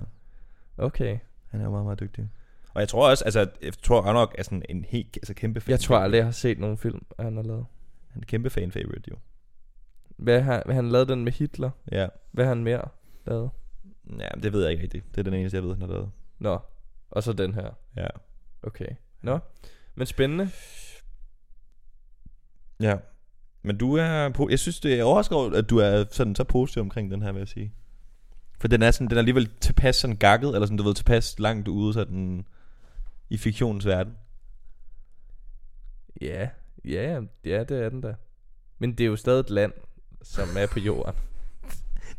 [SPEAKER 2] Okay.
[SPEAKER 1] Han er jo meget, meget dygtig. Og jeg tror også, altså, at Thor Ragnarok er sådan en helt altså, kæmpe fan.
[SPEAKER 2] Jeg tror aldrig, jeg har set nogen film, han har lavet.
[SPEAKER 1] Han er en kæmpe fan-favorite, jo.
[SPEAKER 2] Hvad har, han lavede den med Hitler?
[SPEAKER 1] Ja.
[SPEAKER 2] Hvad har han mere lavet?
[SPEAKER 1] ja, det ved jeg ikke rigtigt. Det er den eneste, jeg ved, han har lavet.
[SPEAKER 2] Nå, og så den her.
[SPEAKER 1] Ja.
[SPEAKER 2] Okay. Nå, men spændende.
[SPEAKER 1] Ja. Men du er... po- Jeg synes, det er overraskende, at du er sådan så positiv omkring den her, vil jeg sige. For den er, sådan, den er alligevel tilpas sådan gakket, eller sådan, du ved, tilpas langt ude sådan i fiktionens verden.
[SPEAKER 2] Ja, ja, ja, det er den der. Men det er jo stadig et land, som er på jorden.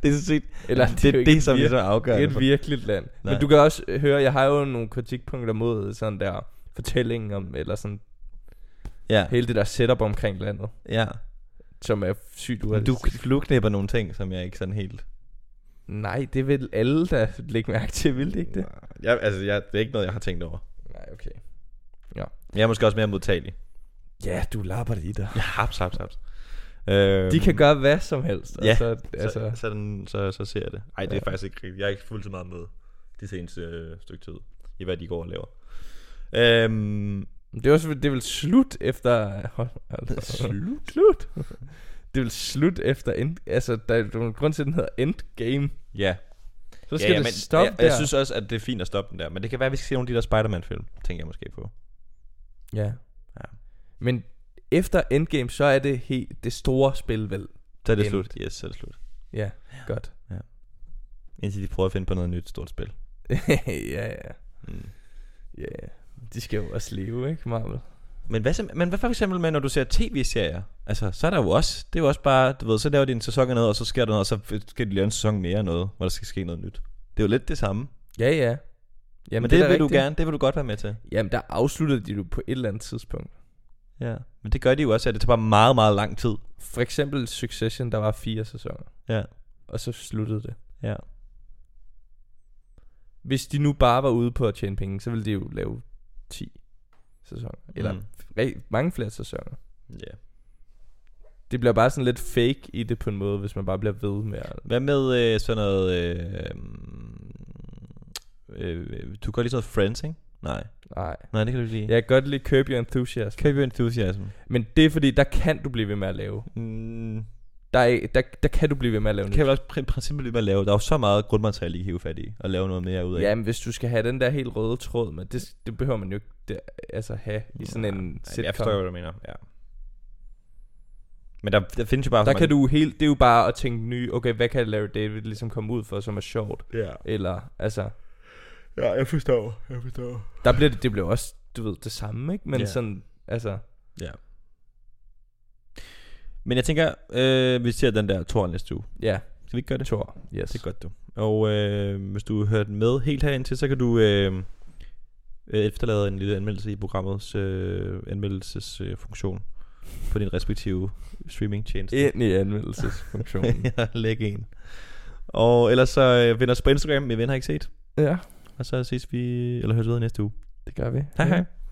[SPEAKER 1] Det er sådan set
[SPEAKER 2] Eller
[SPEAKER 1] det,
[SPEAKER 2] det, er jo
[SPEAKER 1] det,
[SPEAKER 2] ikke
[SPEAKER 1] det som
[SPEAKER 2] vir-
[SPEAKER 1] vi så afgør.
[SPEAKER 2] det er
[SPEAKER 1] Det
[SPEAKER 2] et virkeligt land. Nej.
[SPEAKER 1] Nej.
[SPEAKER 2] Men du kan også øh, høre, jeg har jo nogle kritikpunkter mod sådan der fortælling om, eller sådan
[SPEAKER 1] ja,
[SPEAKER 2] hele det der setup omkring landet,
[SPEAKER 1] ja.
[SPEAKER 2] som er sygt
[SPEAKER 1] Men
[SPEAKER 2] urealistisk.
[SPEAKER 1] du flugknæpper nogle ting, som jeg ikke sådan helt...
[SPEAKER 2] Nej, det vil alle, der lægge mærke til, vil det ikke det?
[SPEAKER 1] Jeg, altså, jeg, det er ikke noget, jeg har tænkt over.
[SPEAKER 2] Nej. Nej, okay.
[SPEAKER 1] Jeg er måske også mere modtagelig.
[SPEAKER 2] Ja, du lapper det i dig.
[SPEAKER 1] Ja, haps, haps, haps. Øhm,
[SPEAKER 2] De kan gøre hvad som helst.
[SPEAKER 1] Ja,
[SPEAKER 2] altså,
[SPEAKER 1] altså.
[SPEAKER 2] altså,
[SPEAKER 1] så, så, den, så, så ser jeg det. Nej, det er
[SPEAKER 2] Ja.
[SPEAKER 1] faktisk ikke rigtigt. Jeg er ikke fuldt så meget med det seneste øh, stykke tid, i hvad de går og laver. Øhm,
[SPEAKER 2] Det er også det er vel slut efter hold- hold-
[SPEAKER 1] Slut?
[SPEAKER 2] slut. Det er vel slut efter end, altså der er jo en grund til at den hedder Endgame.
[SPEAKER 1] ja.
[SPEAKER 2] Så skal
[SPEAKER 1] ja, ja,
[SPEAKER 2] det
[SPEAKER 1] men
[SPEAKER 2] stoppe
[SPEAKER 1] jeg,
[SPEAKER 2] der.
[SPEAKER 1] jeg synes også, at det er fint at stoppe den der. Men det kan være, at vi skal se nogle af de der Spider-Man-film, tænker jeg måske på.
[SPEAKER 2] ja.
[SPEAKER 1] Ja.
[SPEAKER 2] Men efter Endgame så er det helt det store spil vel.
[SPEAKER 1] Så er det
[SPEAKER 2] End.
[SPEAKER 1] slut. Yes, så er det slut.
[SPEAKER 2] Ja, godt.
[SPEAKER 1] Indtil de prøver at finde på noget nyt stort spil.
[SPEAKER 2] ja, ja.
[SPEAKER 1] Mm.
[SPEAKER 2] Ja, ja. de skal jo også leve, ikke, Marvel?
[SPEAKER 1] Men hvad, så- men hvad for eksempel med, når du ser tv-serier? Altså, så er der jo også, det er jo også bare, du ved, så laver de en sæson af noget, og så sker der noget, og så skal de lave en sæson mere af noget, hvor der skal ske noget nyt. Det er jo lidt det samme.
[SPEAKER 2] Ja, ja.
[SPEAKER 1] Jamen, men
[SPEAKER 2] Jamen, det,
[SPEAKER 1] det, det vil
[SPEAKER 2] er da
[SPEAKER 1] du
[SPEAKER 2] rigtigt.
[SPEAKER 1] gerne, det vil du godt være med til.
[SPEAKER 2] Jamen, der afsluttede de jo på et eller andet tidspunkt.
[SPEAKER 1] Ja. Men det gør de jo også, at det tager bare meget, meget lang tid.
[SPEAKER 2] For eksempel Succession, der var fire sæsoner.
[SPEAKER 1] Ja.
[SPEAKER 2] Og så sluttede det.
[SPEAKER 1] Ja.
[SPEAKER 2] Hvis de nu bare var ude på at tjene penge, så ville de jo lave 10 sæsoner. Eller
[SPEAKER 1] Mm.
[SPEAKER 2] re- mange flere sæsoner.
[SPEAKER 1] Ja.
[SPEAKER 2] Det bliver bare sådan lidt fake i det på en måde, hvis man bare bliver ved med at...
[SPEAKER 1] Hvad med øh, sådan noget... Øh, øh, øh, du kan godt lide sådan noget Friends, ikke? Nej.
[SPEAKER 2] Nej.
[SPEAKER 1] Nej, det kan du ikke lide.
[SPEAKER 2] Jeg kan godt lide Curb Your Enthusiasm.
[SPEAKER 1] Curb Your Enthusiasm.
[SPEAKER 2] Men det er fordi, der kan du blive ved med at lave.
[SPEAKER 1] Mm,
[SPEAKER 2] Der, er, der, der kan du blive ved med at lave
[SPEAKER 1] kan jeg vel også i princippet lige med at lave. Der er jo så meget grundmateriale, I kan hive fat i, og lave noget mere ud af.
[SPEAKER 2] Ja, men hvis du skal have den der helt røde tråd med, det, det behøver man jo ikke det, altså have i sådan
[SPEAKER 1] Nej,
[SPEAKER 2] en
[SPEAKER 1] Ej, jeg
[SPEAKER 2] sitcom.
[SPEAKER 1] forstår, hvad du mener. Ja. Men der, der findes jo bare... så
[SPEAKER 2] Der
[SPEAKER 1] mange-
[SPEAKER 2] kan du helt, det er jo bare at tænke nye, okay, hvad kan Larry David ligesom komme ud for, som er sjovt?
[SPEAKER 1] Ja,
[SPEAKER 2] Eller, altså,
[SPEAKER 1] ja jeg forstår. Jeg forstår.
[SPEAKER 2] der bliver det, det bliver også, du ved, det samme, ikke? Men
[SPEAKER 1] Ja.
[SPEAKER 2] yeah. sådan, altså,
[SPEAKER 1] Men jeg tænker, øh, vi ser den der Thor næste uge.
[SPEAKER 2] ja,
[SPEAKER 1] Skal vi ikke gøre det?
[SPEAKER 2] Thor, yes.
[SPEAKER 1] Det er godt, du. Og øh, hvis du har hørt med helt herind til, så kan du øh, øh, efterlade en lille anmeldelse i programmets øh, anmeldelsesfunktion øh, funktion på din respektive streamingtjeneste.
[SPEAKER 2] Ind i anmeldelsesfunktionen.
[SPEAKER 1] ja, læg en. Og ellers så øh, find os på Instagram, min ven har ikke set.
[SPEAKER 2] ja,
[SPEAKER 1] Og så ses vi, eller høres ved i næste uge.
[SPEAKER 2] det gør vi.
[SPEAKER 1] Hej hej.